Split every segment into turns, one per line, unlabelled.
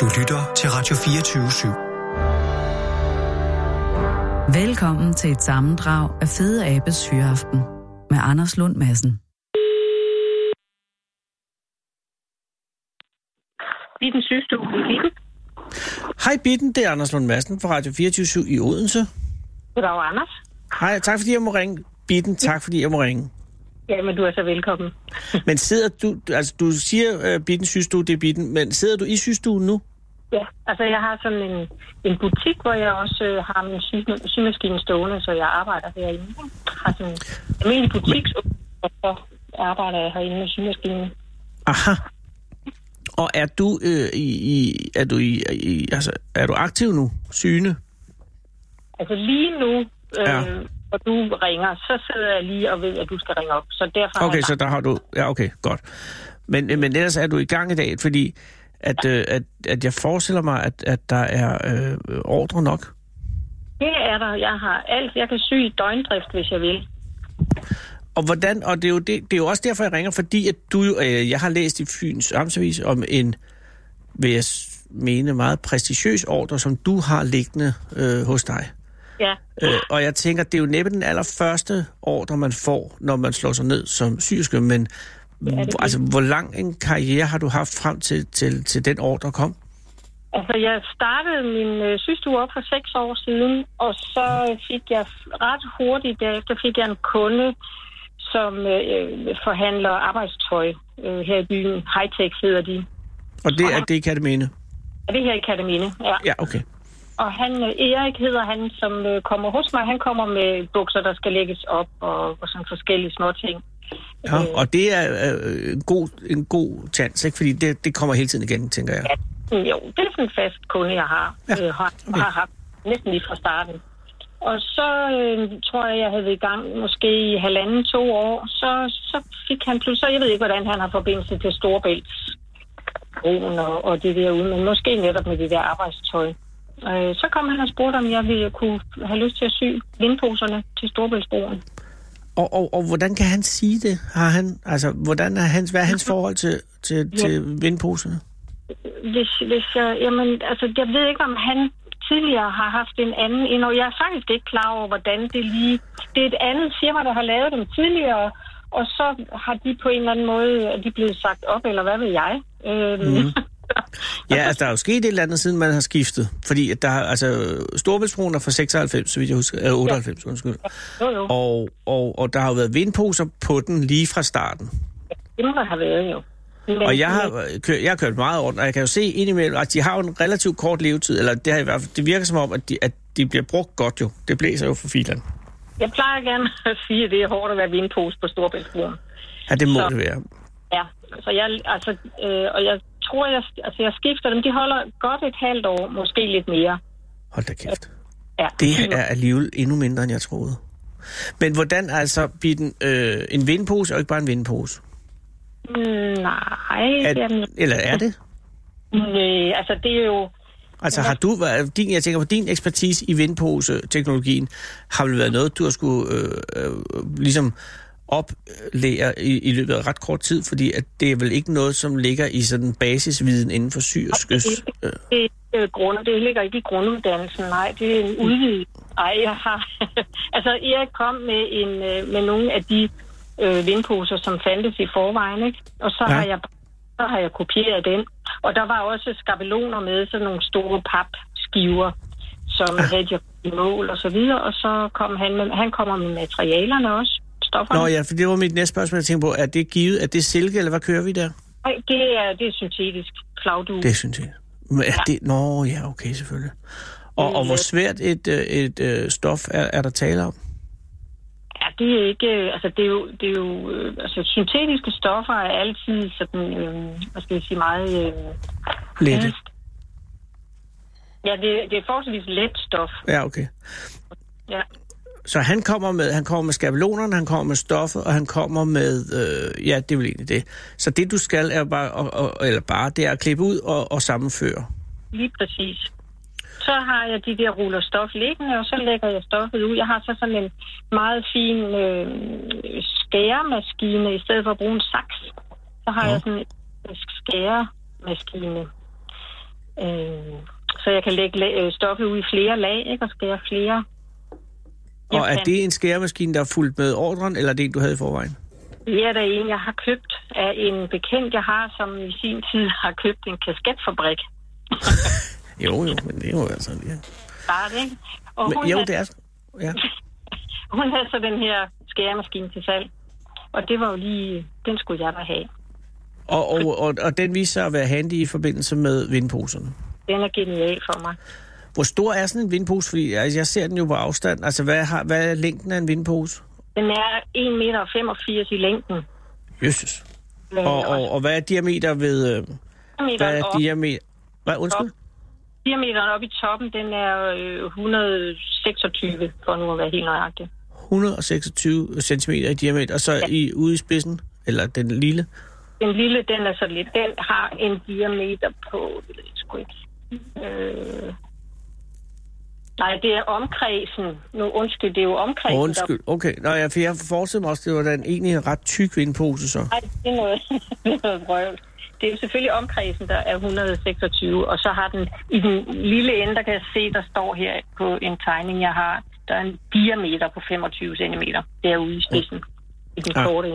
Du lytter til Radio 24 /7.
Velkommen til et sammendrag af Fede Abes Hyreaften med Anders Lund Madsen.
Vi er den sygeste uge i Vigo.
Hej Bitten, det er Anders Lund Madsen fra Radio 24 i Odense.
Goddag, Anders.
Hej, tak fordi jeg må ringe. Bitten, tak fordi jeg må ringe.
Ja, men du er så velkommen.
Men sidder du, altså du siger, uh, Bitten synes du, det er Bitten, men sidder du i sygestuen nu?
Ja, altså jeg har sådan en, en butik, hvor jeg også øh, har min sy- symaskine stående, så jeg arbejder herinde. Jeg har sådan en almindelig butik, og så arbejder jeg herinde med symaskinen.
Aha. Og er du, øh, i, i, er du i, i, altså, er du aktiv nu? Syne?
Altså lige nu, øh,
Ja.
ja. hvor du ringer, så sidder jeg lige og ved, at du skal ringe op. Så derfor har
Okay,
jeg
så der har du, ja okay, godt. Men, øh, men ellers er du i gang i dag, fordi at, øh, at, at jeg forestiller mig, at, at der er øh, ordre nok.
Det er der. Jeg har alt. Jeg kan sy i døgndrift, hvis jeg vil.
Og hvordan, og det er jo, det, det er jo også derfor, jeg ringer, fordi at du, jo- øh, jeg har læst i Fyns Amtsavis om en, vil jeg s- mene, meget prestigiøs ordre, som du har liggende øh, hos dig.
Ja,
Øh, og jeg tænker, det er jo næppe den allerførste ordre, man får, når man slår sig ned som syrske, men ja,
det.
altså, hvor lang en karriere har du haft frem til, til, til den ordre kom?
Altså, jeg startede min øh, systue op for seks år siden, og så øh, fik jeg ret hurtigt derefter fik jeg en kunde, som øh, forhandler arbejdstøj øh, her i byen. Hightech hedder de.
Og det er det, kan det mene.
Er det her i Katamine? Ja.
Ja, okay.
Og han, øh, Erik hedder han, som øh, kommer hos mig. Han kommer med bukser, der skal lægges op og, og sådan forskellige små ting.
Ja, og det er øh, en, god, en god chance, ikke? fordi det, det kommer hele tiden igen, tænker jeg.
Jo, det er sådan en fast kunde, jeg har,
Ja,
ja. øh, har,
okay.
okay. har haft næsten lige fra starten. Og så øh, tror jeg, jeg havde været i gang måske i halvanden, to år. Så, så fik han pludselig, så jeg ved ikke, hvordan han har forbindelse til Storebælts broen og, og det der ude, men måske netop med det der arbejdstøj. Øh, så kom han og spurgte, om jeg ville kunne have lyst til at sy vindposerne til Storebæltsbroen.
Og, og, og hvordan kan han sige det? Har han, altså, hvordan er hans, hvad er hans forhold til, til, ja. til vindposerne?
hvis, hvis jeg, jamen, altså, jeg ved ikke, om han tidligere har haft en anden ind, og jeg er faktisk ikke klar over, hvordan det lige... Det er et andet firma, der har lavet dem tidligere, og så har de på en eller anden måde, er de blevet sagt op, eller hvad ved jeg? Øhm,
Mhm.
mm.
Ja, altså, der er jo sket et eller andet, siden man har skiftet. Fordi at der, har- altså, Storbritannien er fra 96, så vidt jeg husker, øh, 98, undskyld.
jo, jo,
Og, og, og der har jo været vindposer på den lige fra starten.
det må der have været jo. Men,
Og jeg
men-
har, kør, jeg har kørt meget rundt, og jeg kan jo se indimellem, at de har jo en relativt kort levetid, eller det, har i hvert fald, det virker som om, at de, at de bliver brugt godt jo. Det blæser jo for filerne.
Jeg plejer gerne at sige, at det er hårdt at være vindpose på Storbæltsbroen.
Ja, det må
Så-
det være.
Ja, så jeg, altså, øh, og jeg tror, jeg, altså, jeg skifter dem. De holder godt et halvt år, måske lidt mere.
Hold da kæft.
Ja.
Det er alligevel endnu mindre, end jeg troede. Men hvordan altså, Bitten, øh, en vindpose er jo ikke bare en vindpose.
Mm, nej,
Er,
jamen,
eller er det?
Nej, altså det er jo...
Altså har du, været- din, jeg tænker på din ekspertise i vindpose-teknologien, har vel været noget, du har skulle øh, øh, ligesom oplære i, i løbet af ret kort tid, fordi at det er vel ikke noget, som ligger i sådan basisviden inden for syrskes. Øh,
Det, er ikke grund, det ligger ikke i grunduddannelsen, nej. Det er en udvidet... Ej, jeg har... altså, Erik kom med, en, øh, med nogle af de øh, vindposer, som fandtes i forvejen, ikke? Og så,
Ja.
ja. har jeg, så har jeg kopieret den. Og der var også skabeloner med, sådan nogle store papskiver, som ja. havde de mål og så videre. Og så kom han med... Han kommer med materialerne også, stofferne.
Nå ja, for det var mit næste spørgsmål, jeg tænkte på. Er det givet? Er det silke, eller hvad kører vi der?
Nej, det er, det er syntetisk flagdue.
Det synes jeg. Men er det, nå ja, okay, selvfølgelig. Og, og hvor svært et, øh, et, et stof er, er der tale om?
Ja, det er ikke... øh, Altså, det er jo... Det er jo øh, altså, syntetiske stoffer er altid sådan... Øh, hvad skal jeg sige? Meget... Øh,
Lette.
ja, det, det er forholdsvis let stof.
Ja, okay.
Ja.
Så han kommer med, han kommer med skabelonerne, han kommer med stoffet, og han kommer med, øh, ja, det er vel egentlig det. Så det du skal er bare, og, og, eller bare, det er at klippe ud og, og sammenføre.
Lige præcis. Så har jeg de der ruller stof liggende, og så lægger jeg stoffet ud. Jeg har så sådan en meget fin øh, skæremaskine, i stedet for at bruge en saks. Så har
Nå.
jeg sådan en skæremaskine. Øh, så jeg kan lægge la- øh, stoffet ud i flere lag, ikke? Og skære flere. Jeg
Og er
kan-
det en skæremaskine, der er fuldt med ordren, eller er det en, du havde i forvejen?
Det er der en, jeg har købt af en bekendt, jeg har, som i sin tid har købt en kasketfabrik.
Jo, jo, men det er jo altså... Ja.
Bare det, ikke? Og
Men,
hun,
jo,
havde,
det er... Ja.
hun havde så den her skæremaskine til salg. Og det var jo lige... Den skulle jeg da have.
Og, og, og, og den viser sig at være handy i forbindelse med vindposerne.
Den er genial for mig.
Hvor stor er sådan en vindpose? Fordi altså, jeg ser den jo på afstand. Altså, hvad, har, hvad er længden af en vindpose?
Den er 1,85 meter i længden. Øh,
Jøsses.
Men
Og, og, og hvad er diameter ved... Øh, hvad
diameteren,
er
op,
diameter... Hvad, undskyld?
diameteren op i toppen, den er øh, 126, for nu at være helt nøjagtig.
126 cm i diameter, og så i, ude i spidsen, eller den lille.
Den lille, den er så lidt. Den har en diameter på... det ved jeg sgu ikke. Øh, nej, det er omkredsen. Nu undskyld, det er jo omkredsen.
Undskyld, okay. Nå, jeg, for jeg forestillede mig også, at det var den egentlig en ret tyk vindpose, så.
Der, nej, det er noget, det er noget brøvl. Det er jo selvfølgelig omkredsen, der er 126, og så har den i den lille ende, der kan jeg se, der står her på en tegning, jeg har, der er en diameter på 25 cm derude i spidsen, i den
Ja.
korte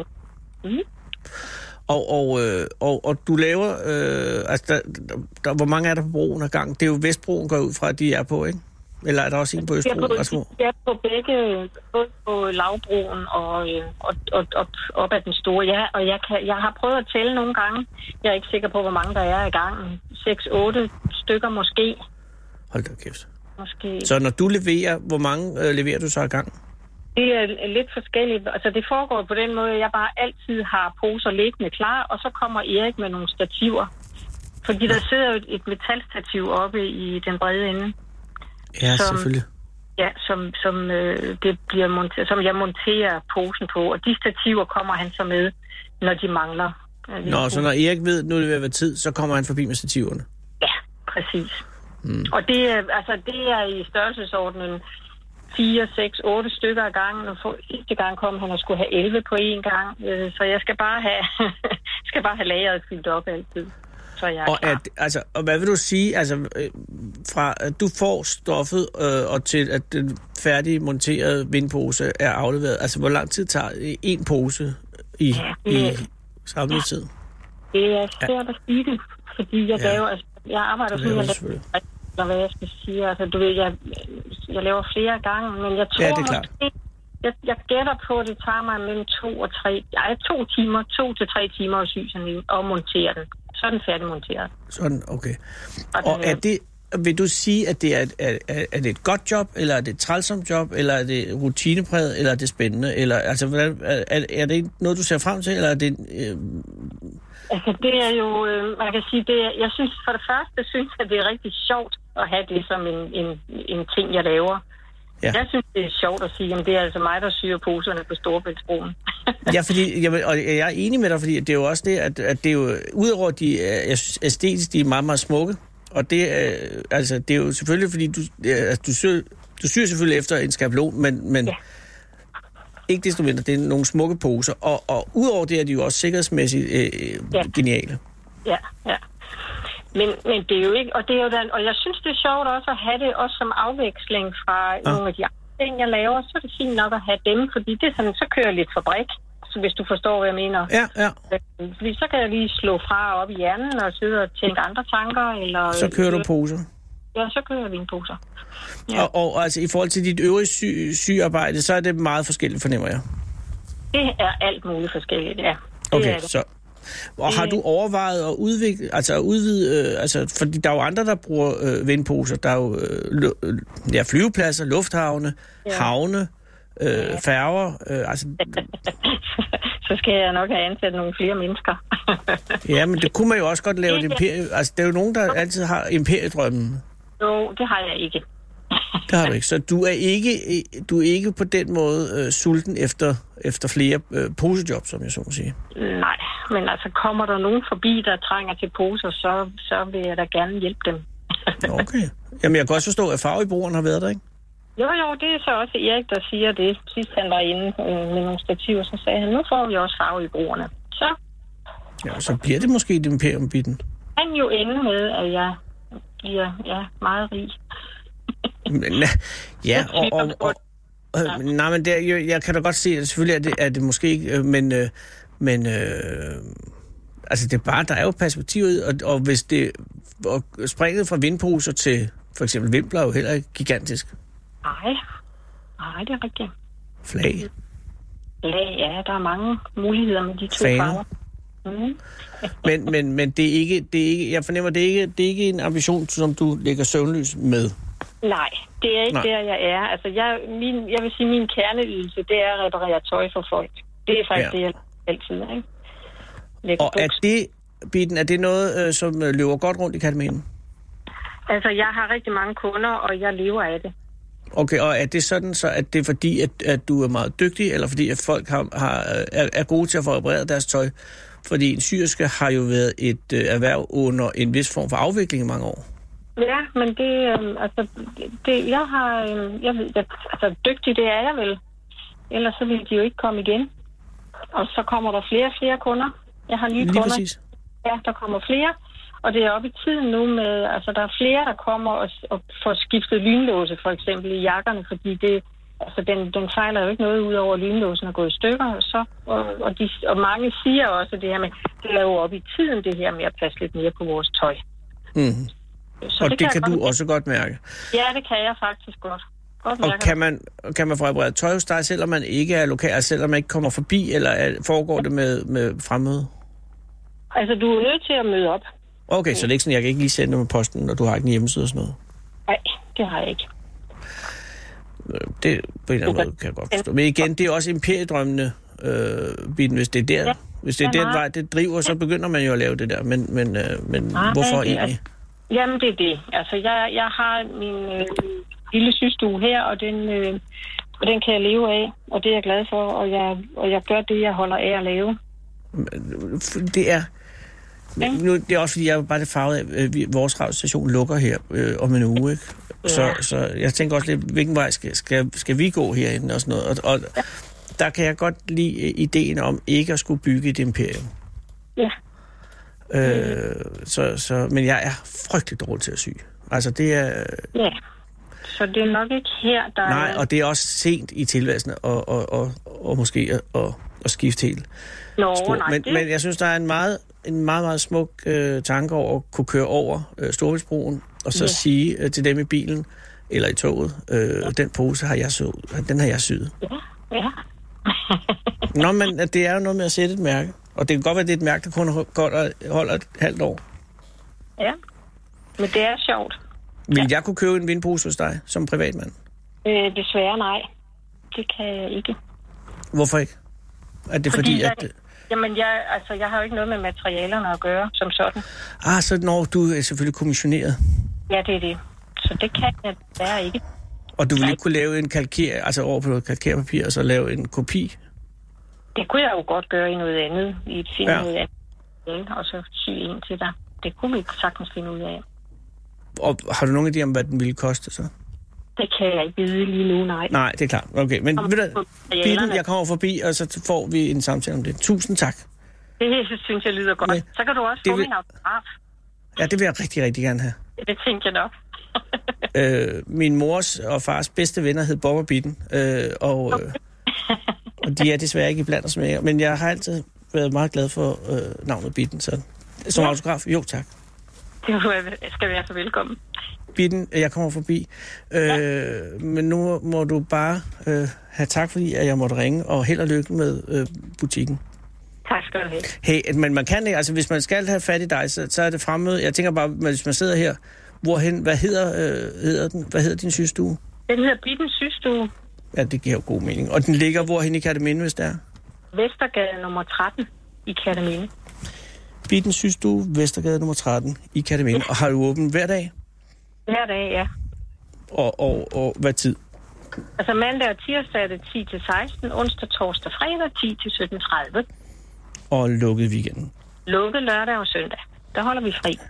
ende.
Og, og, øh, og, og du laver... Øh, altså, der, der, der, hvor mange er der på broen ad gang? Det er jo Vestbroen går jeg ud fra, at de er på, ikke? Eller er der også en på
Jeg er
Østbroen? Altså,
på,
hvor-
jeg er på begge, både på lavbroen og, øh, og, og op, op ad den store. Ja, og jeg, kan, jeg har prøvet at tælle nogle gange. Jeg er ikke sikker på, hvor mange der er i gangen. 6-8 stykker måske.
Hold da kæft.
måske. Så.
Så når du leverer, hvor mange øh, leverer du så ad gang?
Det er lidt forskelligt. Altså, det foregår på den måde, at jeg bare altid har poser liggende klar, og så kommer Erik med nogle stativer. Fordi der sidder jo et, et metalstativ oppe i den brede ende.
Ja,
Som-
selvfølgelig.
Ja, som, som, øh, det bliver monter- som jeg monterer posen på. Og de stativer kommer han så med, når de mangler. øh,
Nå, så når Erik ved, at nu er det ved at være tid, så kommer han forbi med stativerne.
Ja, præcis. Mm. Og det er, altså, det er i størrelsesordenen 4, 6, 8 stykker ad gangen. Og for, sidste gang kom han og skulle have 11 på én gang. Øh, så jeg skal bare have, skal bare have lageret fyldt op altid. Så jeg er
Og,
klar.
at, altså, og hvad vil du sige, altså, øh, fra at du får stoffet øh, og til at den færdige monterede vindpose er afleveret, altså hvor lang tid tager en pose i, i
Ja.
samlet tid?
Det er svært at sige det, fordi jeg,
Ja.
ja. laver, altså, jeg arbejder
Du
sådan,
laver
jeg
det selvfølgelig.
laver, eller hvad jeg skal sige. Altså, du ved, jeg, jeg laver flere gange, men jeg tror
Ja, det er klart.
måske, jeg, jeg gætter på, at det tager mig mellem to og tre, ja, to timer, to til tre timer at sy sådan en, og montere den. Så er den færdigmonteret.
Sådan, okay.
Og den
Og er det, vil du sige, at det er, et- er, er, er det et godt job, eller er det et trælsomt job, eller er det rutinepræget, eller er det spændende? Eller, altså, hvordan, er, er- er det noget, du ser frem til, eller er det... Øh,
Altså, det er jo, øh, man kan sige, det er, jeg synes for det første, synes jeg, det er rigtig sjovt at have det som en, en, en ting, jeg laver.
Ja.
Ja. Jeg synes, det er sjovt at sige, at det er altså mig, der syr poserne på Storebæltsbroen.
Ja, fordi, jamen, og jeg er enig med dig, fordi det er jo også det, at, at det er jo, udover de, er- jeg synes, æstetisk, de er meget, meget smukke, og det, er, altså, det er jo selvfølgelig, fordi du, øh, altså, du, syr, du syr selvfølgelig efter en skabelon, men, men ja.
Ja.
ikke desto mindre, det er nogle smukke poser, og, og udover det er de jo også sikkerhedsmæssigt øh, ja.
Ja.
geniale.
Ja, ja. Men, men det er jo ikke, og det er jo den, og jeg synes, det er sjovt også at have det også som afveksling fra ja. nogle af de andre ting, jeg laver, så er det fint nok at have dem, fordi det er sådan, så kører jeg lidt fabrik, så hvis du forstår, hvad jeg mener.
Ja, ja,
Øh, Fordi så kan jeg lige slå fra op i hjernen og sidde og tænke andre tanker, eller... øh,
så kører du poser.
Ja, så kører jeg vinposer.
Ja. Og, og altså, i forhold til dit øvrige sy, sygearbejde, så er det meget forskelligt, fornemmer jeg.
Det er alt muligt forskelligt, ja. Det er
Okay,
det.
så. Og har du overvejet at udvikle, altså at udvide, øh, altså, fordi der er jo andre, der bruger øh, vindposer. Der er jo øh, lu- øh, ja, flyvepladser, lufthavne, ja. havne, øh, færger. Øh, altså,
så skal jeg nok have ansat nogle flere mennesker.
ja, men det kunne man jo også godt lave et
Ikke-
imperie. Altså, der er jo nogen, der altid har imperiedrømmen.
jo, det har jeg ikke.
Det har du ikke. Så du er ikke, du er ikke på den måde øh, sulten efter, efter flere øh, posejob, som jeg så må sige.
Nej, men altså kommer der nogen forbi, der trænger til poser, så, så vil jeg da gerne hjælpe dem.
Nå, Okay. Jamen, jeg kan også forstå, at farvebroren har været der, ikke?
Jo, jo, det er så også Erik, der siger det. Sidst han var inde øh, med nogle stativer, så sagde han, nu får vi også farve i brugerne. Så
Ja, så bliver det måske et imperiumbitten.
han jo ende med, at jeg bliver ja, meget rig.
Men, ja, og, og, og, Øh, ja. Nej, men det, er jo- jeg kan da godt se, at selvfølgelig er det, er det måske ikke, øh, men, øh, men øh, altså det er bare, der er jo perspektivet, og, og hvis det, og springet fra vindposer til for eksempel vimpler er jo heller ikke gigantisk
Nej, nej, det er rigtigt.
flag.
Ja, ja, der er mange muligheder med de to
Faner.
farver. Mm.
Men, men, men det, er ikke, det er ikke, jeg fornemmer, det er ikke, det er ikke en ambition, som du ligger søvnløs med.
Nej, det er ikke
Nej.
Nej. der, jeg er. Altså, jeg, min, jeg vil sige, min kerneydelse, det er at reparere tøj for folk. Det er faktisk
Ja.
ja. det, jeg altid er, ikke? Lægger
Og er det, Bitten, er det noget, øh, som øh, løber godt rundt i katamenen?
Altså, jeg har rigtig mange kunder, og jeg lever af det.
Okay, og er det sådan så, at det er fordi, at, at du er meget dygtig, eller fordi, at folk har, har, øh, er, er gode til at få repareret deres tøj? Fordi en syriske har jo været et øh, erhverv under en vis form for afvikling i mange år.
Ja, men det, øh, altså, det, jeg har, øh, jeg ved, jeg, altså, dygtig det er jeg vel. Ellers så vil de jo ikke komme igen. Og så kommer der flere og flere kunder. Jeg har nye
Lige
kunder.
præcis.
Ja, der kommer flere. Og det er oppe i tiden nu med, altså der er flere, der kommer og, og får skiftet lynlåse for eksempel i jakkerne, fordi det, altså den, den fejler jo ikke noget ud over, at lynlåsen er gået i stykker. Og, så, og, og, de, og mange siger også det her med, det er jo oppe i tiden det her med at passe lidt mere på vores tøj.
Mm.
Så
Og det, det kan
jeg
du
godt,
også godt mærke.
Ja, det kan jeg faktisk godt. Godt
Og
mærke.
kan man, kan man få repareret tøj hos dig, selvom man ikke er lokal, altså selvom man ikke kommer forbi, eller er, foregår det med, med fremmede?
Altså, du er nødt til at møde op.
Okay, så det er ikke sådan, jeg kan ikke lige sende dem med posten, når du har ikke en hjemmeside og sådan noget.
Nej, det har jeg ikke.
Øh, Det på en eller anden måde kan jeg godt forstå. Men igen, det er også imperiedrømmende, øh, Bitten, hvis det er der.
Ja.
Hvis det er
Ja, Ah,
den
nej.
vej, det driver, så begynder man jo at lave det der. Men, men, øh, men
Nej,
hvorfor
det er-
egentlig?
Jamen, det er det. Altså, jeg, jeg har min øh, lille systue her, og den, øh, og den kan jeg leve af, og det er jeg glad for, og jeg, og jeg gør det, jeg holder af at lave.
Det er...
Ja.
Nu, det er også fordi, jeg er bare det farvet af, øh, vi- vores radiostation lukker her øh, om en uge, ikke? Så,
Ja.
så jeg tænker også lidt, hvilken vej skal, skal, skal vi gå herinde og sådan noget. Og, og der kan jeg godt lide øh, ideen om ikke at skulle bygge et imperium.
Ja.
Øh, så, så, men jeg er frygtelig dårlig til at sy. Altså, det er,
ja. Så det er nok ikke her, der
Nej,
er...
og det er også sent i tilværelsen og, og, og, og måske at, at, at skifte helt
Nå,
spor.
nej,
men,
det,
men jeg synes, der er en meget, en meget, meget smuk øh, tanke over at kunne køre over øh, Storvældsbroen og så
Ja.
sige øh, til dem i bilen eller i toget, øh, den pose har jeg så, den har jeg syet.
ja.
Nå, men øh, det er jo noget med at sætte et mærke. Og det kan godt være, at det er et mærke, der kun holder, holder et halvt år.
ja. Men det er sjovt.
Vil jeg kunne købe en vindpose hos dig som privatmand?
Øh, desværre nej. Det kan jeg ikke.
Hvorfor ikke? Er det fordi, fordi
jeg,
at...
Jamen, jeg, altså, jeg har jo ikke noget med materialerne at gøre, som sådan.
Ah, så når du er selvfølgelig kommissioneret.
Ja, det er det. Så det kan jeg desværre ikke.
Og du ville ikke kunne lave en kalker, altså over på noget kalkerpapir, og så lave en kopi?
Det kunne jeg jo godt gøre i noget andet, i et finde
Ja.
ja. noget andet, ikke? og så sy en til dig. Det kunne vi sagtens finde ud af.
Og har du nogen idé om, hvad den ville koste så?
Det kan jeg ikke vide lige nu, nej.
Nej, det er klart. Okay, men
Om-
ved du, Bitten,
materialerne.
jeg kommer forbi, og så får vi en samtale om det. Tusind tak.
Det synes jeg lyder godt.
Nej.
Så kan du også
Det
få
vil-
min autograf.
Ja, det vil jeg rigtig, rigtig gerne have.
Det tænker jeg nok.
Øh, min mors og fars bedste venner hed Bob og Bitten, øh, og, øh, og de er desværre ikke blandt os mere. Men jeg har altid været meget glad for øh, navnet Bitten, så som ja. autograf, jo tak.
Det kunne jeg- skal være så velkommen.
Bitten, jeg kommer forbi. Øh, ja. Men nu må du bare øh, have tak, fordi at jeg måtte ringe, og held og lykke med øh, butikken.
Tak skal du have.
Hey, men man kan ikke, altså hvis man skal have fat i dig, så, så er det fremmøde. Jeg tænker bare, hvis man sidder her, hvorhen, hvad hedder, øh, hedder den, hvad hedder din systue?
Den hedder Bitten Systue,
Ja, det giver jo god mening. Og den ligger hvorhen i Kataminde, hvis det er?
Vestergade nummer 13 i Katamine.
Bitten Systue, Vestergade nummer 13 i Kataminde. Og har du åben hver dag?
Hver dag, ja.
Og, og, og hvad tid?
Altså mandag og tirsdag er det 10 til 16, onsdag, torsdag, fredag 10 til 17.30.
Og lukket i weekenden.
Lukket lørdag og søndag. Der holder vi fri.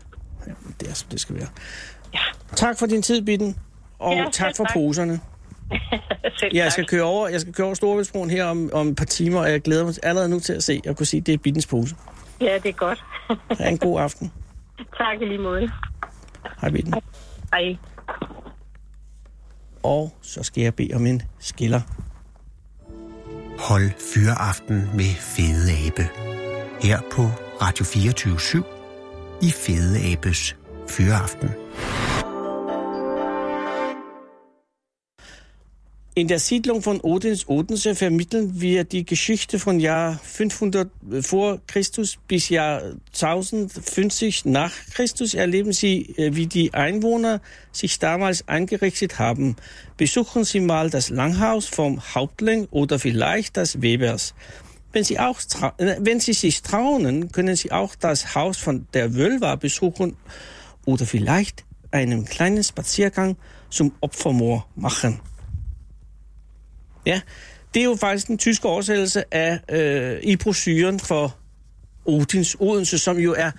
Ja, det er, som det skal være. Ja. Tak for din tid, Bitten. Og
Ja,
ja, tak
selv
for
tak.
poserne.
Selv
Ja,
tak.
jeg skal køre over, jeg skal køre over Storebæltsbroen her om, om et par timer, og jeg glæder mig allerede nu til at se, og kunne sige, at det er Bittens pose.
Ja, det er godt.
Ha' en god aften.
tak i lige måde.
Hej, Bitten.
Hej.
Og så skal jeg bede om en skiller.
Hold fyreaften med Fede Abe. Her på Radio 24 i Fede Abes Fyreaften.
In der Siedlung von Odins Odense vermitteln wir die Geschichte von Jahr 500 vor Christus bis Jahr 1050 nach Christus. Erleben Sie, äh, wie die Einwohner sich damals eingerichtet haben. Besuchen Sie mal das Langhaus vom Hauptling oder vielleicht das Webers. Wenn Sie, auch trau- äh, wenn Sie sich trauen, können Sie auch das Haus von der Wölver besuchen oder vielleicht einen kleinen Spaziergang zum Opfermoor machen. Ja, det er jo faktisk den tyske oversættelse af øh, i brosyren for Odins Odense, som jo er...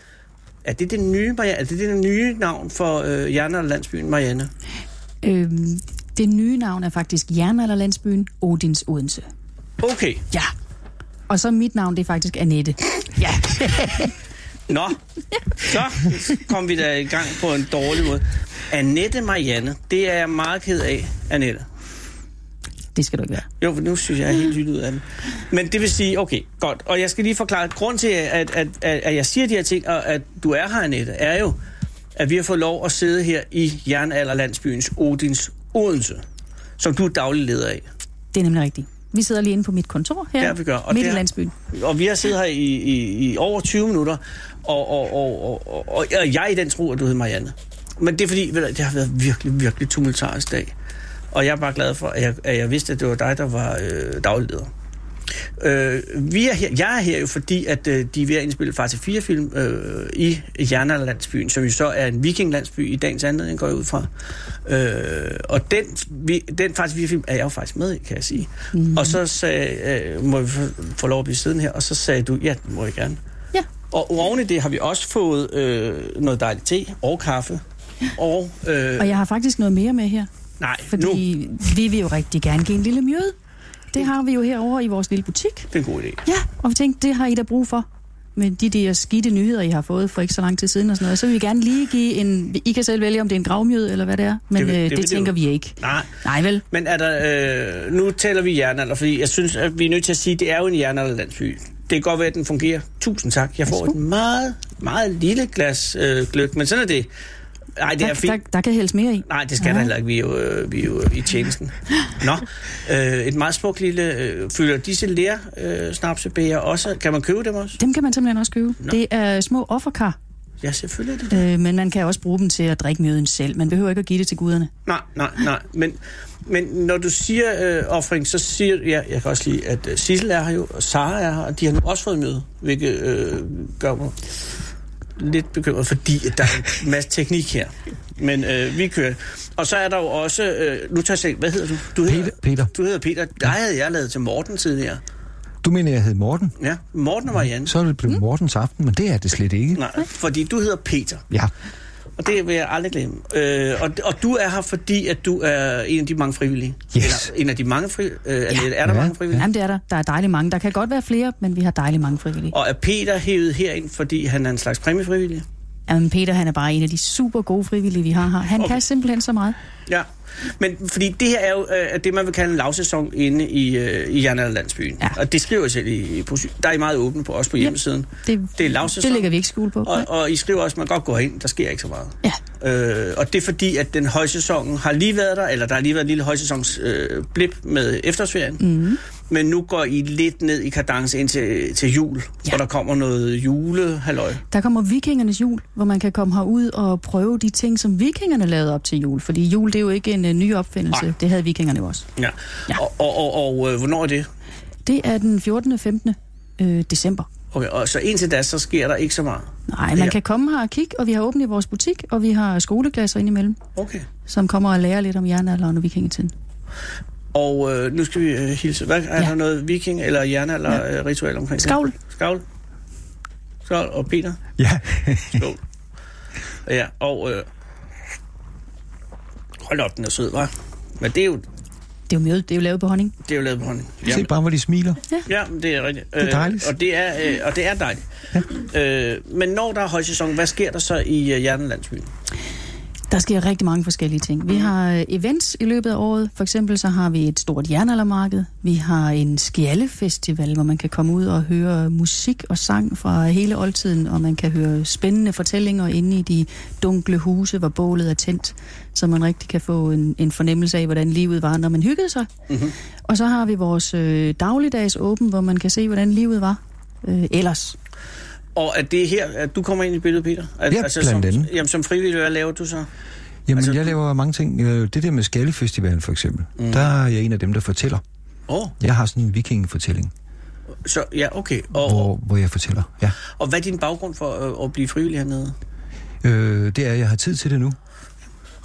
Er det den nye, Marianne? Er det den nye navn for øh, Jerner landsbyen Marianne?
Øhm, det nye navn er faktisk Jernalderlandsbyen Odins Odense.
Okay.
Ja. Og så mit navn, det er faktisk Annette. Ja.
Nå, så kom vi da i gang på en dårlig måde. Annette Marianne, det er jeg meget ked af, Annette.
Det skal du ikke være.
Jo, for nu synes jeg, jeg er helt lyttet ud af den. Men det vil sige, okay, godt. Og jeg skal lige forklare, at grund til, at, at, at, at jeg siger de her ting, og at du er her, Annette, er jo, at vi har fået lov at sidde her i Jernalderlandsbyens Odins Odense, som du er daglig leder af.
Det er nemlig rigtigt. Vi sidder lige inde på mit kontor her.
Ja, vi gør. Og
midt
det
i
er-
landsbyen.
Og vi har siddet her i, i, i over 20 minutter, og, og, og, og, og, og jeg er i den tro, at du hedder Marianne. Men det er fordi, ved du, det har været virkelig, virkelig tumultarisk dag. Og jeg er bare glad for, at jeg, at jeg vidste, at det var dig, der var øh, dagleder. Øh, vi er her, jeg er her jo, fordi at, øh, de er ved at indspille Far til 4-film øh, i Jernalandsbyen, som jo så er en vikinglandsby i dagens anledning, går jeg ud fra. Øh, og den, vi, den Far til 4-film er jeg jo faktisk med i, kan jeg sige.
Mhm.
Mm. Og så sagde, øh, må vi få, få lov at blive siden her, og så sagde du, ja, det må jeg gerne.
Ja.
Og oven i det har vi også fået øh, noget dejligt te og kaffe. Og, øh,
Og jeg har faktisk noget mere med her.
nej, nu, det
Fordi nu. vi vil jo rigtig gerne give en lille mjøde. Det har vi jo herovre i vores lille butik.
er en god idé.
Ja, og vi tænkte, det har I da brug for. Men de der skidte nyheder, I har fået for ikke så lang tid siden og sådan noget, så vil vi gerne lige give en... I kan selv vælge, om det er en gravmjød eller hvad det er, men
Det
det,
vil-
det,
det vil
øh, det,
det
det tænker
jo.
vi ikke.
Nej,
Nej vel?
Men er der, øh, nu taler vi jernalder, fordi jeg synes, at vi er nødt til at sige, at det er jo en jernalderlandsby. Det kan godt være, at den fungerer. Tusind tak. Jeg får et meget, meget lille glas øh, gløk, men sådan er det. Nej, det
Der,
er fint.
der, der kan hældes mere i.
Nej, det skal ja. der heller ikke. Vi er jo, øh, vi er jo i tjenesten. Nå, øh, et meget smukt lille... Øh, fylder disse lær, øh, snapsebæger også? Kan man købe dem også?
Dem kan man simpelthen også købe. Nå. Det er små offerkar,
Ja, selvfølgelig er det.
øh, men man kan også bruge dem til at drikke mjøden selv. Man behøver ikke at give det til guderne.
Nej, nej, nej. Men, men når du siger øh, offring, så siger ja, jeg kan også lide, at øh, Sissel er her jo, og Sara er her, og de har nu også fået møde, hvilket øh, gør mig lidt bekymret, fordi at der er en masse teknik her. Men øh, vi kører. Og så er der jo også, øh, nu tager jeg selv, hvad hedder du? du hedder,
Peter- Peter.
Du hedder Peter. Der havde jeg lavet til Morten tidligere.
Du mener, jeg hed Morten?
Ja, Morten og Marianne.
Så er det blevet Mortens aften, men det er det slet ikke.
Mm. Nej, fordi du hedder Peter.
Ja,
Og det vil jeg aldrig glemme. Øh, og, og du er her, fordi at du er en af de mange frivillige.
Yes.
Eller, en af de mange fri, øh, ja. Er der
Ja.
mange frivillige?
Jamen det er der. Der er dejligt mange. Der kan godt være flere, men vi har dejligt mange frivillige.
Og er Peter hævet herind, fordi han er en slags præmiefrivillig?
Jamen Peter, han er bare en af de super gode frivillige, vi har her. Han
Okay.
kan simpelthen så meget.
Ja. Men fordi det her er jo øh, det, man vil kalde en lavsæson inde i, øh, i Jernald Landsbyen.
Ja.
Og det skriver jeg selv i, i brosyren. Der er I meget åbne på, også på hjemmesiden.
Det,
Det er lavsæson.
det lægger vi ikke skjul på.
Og, og I skriver også, at man godt går ind, der sker ikke så meget.
Ja.
Øh, og det er fordi, at den højsæsonen har lige været der, eller der har lige været en lille højsæsonsblip øh, blip med efterårsferien.
Mhm.
Mm. Men nu går I lidt ned i kadence ind til, til jul, ja.
Ja.
hvor der kommer noget julehalløj.
Der kommer vikingernes jul, hvor man kan komme herud og prøve de ting, som vikingerne lavede op til jul. Fordi jul, det er jo ikke en uh, ny opfindelse.
Nej.
Nej. Det havde vikingerne jo også.
Ja.
Ja.
Og, og, og, og øh, hvornår er det?
Det er den 14. og 15. Øh, december.
Okay, og så indtil da, så sker der ikke så meget.
Nej, man
Ja.
ja. kan komme her og kigge, og vi har åbent i vores butik, og vi har skoleklasser indimellem,
Okay.
som kommer og lærer lidt om jernalderen og vikingetiden.
Og øh, nu skal vi øh, hilse. Hvad, er ja.
Ja.
der noget viking eller hjerne eller ja. øh, ritual omkring
Skavl.
det? Skavl. Skavl og Peter.
ja.
Skål. ja, og... Øh, hold op, den er sød, var. Men det er jo,
Det er jo mjød, det er jo lavet på honning.
det er jo lavet på hånden.
Se bare, hvor de smiler.
Ja, men det er rigtigt.
er dejligt.
Øh, og, det er, øh, og det er dejligt. Ja. Øh, men når der er højsæson, hvad sker der så i øh, Hjernelandsbyen?
Der sker rigtig mange forskellige ting. Vi har øh, events i løbet af året. For eksempel så har vi et stort jernaldermarked. Vi har en skjallefestival, hvor man kan komme ud og høre musik og sang fra hele oldtiden, og man kan høre spændende fortællinger inde i de dunkle huse, hvor bålet er tændt, så man rigtig kan få en, en fornemmelse af, hvordan livet var, når man hyggede sig. Mm-hmm. Og så har vi vores øh, dagligdags åben, hvor man kan se, hvordan livet var øh, ellers.
Og er det her, at du kommer ind i billedet, Peter? Al- altså,
Ja,
som,
blandt andet.
Jamen, som frivillig, hvad laver du så?
Jamen,
Altså,
altså, jeg
du-
laver mange ting. Øh, Det der med Skallefestivalen for eksempel, mm. der er jeg en af dem, der fortæller.
Åh, oh,
Jeg har sådan en vikingefortælling,
så ja, okay. Og,
hvor, hvor jeg fortæller. Ja.
og hvad er din baggrund for øh, at blive frivillig hernede?
Øh, det er, at jeg har tid til det nu.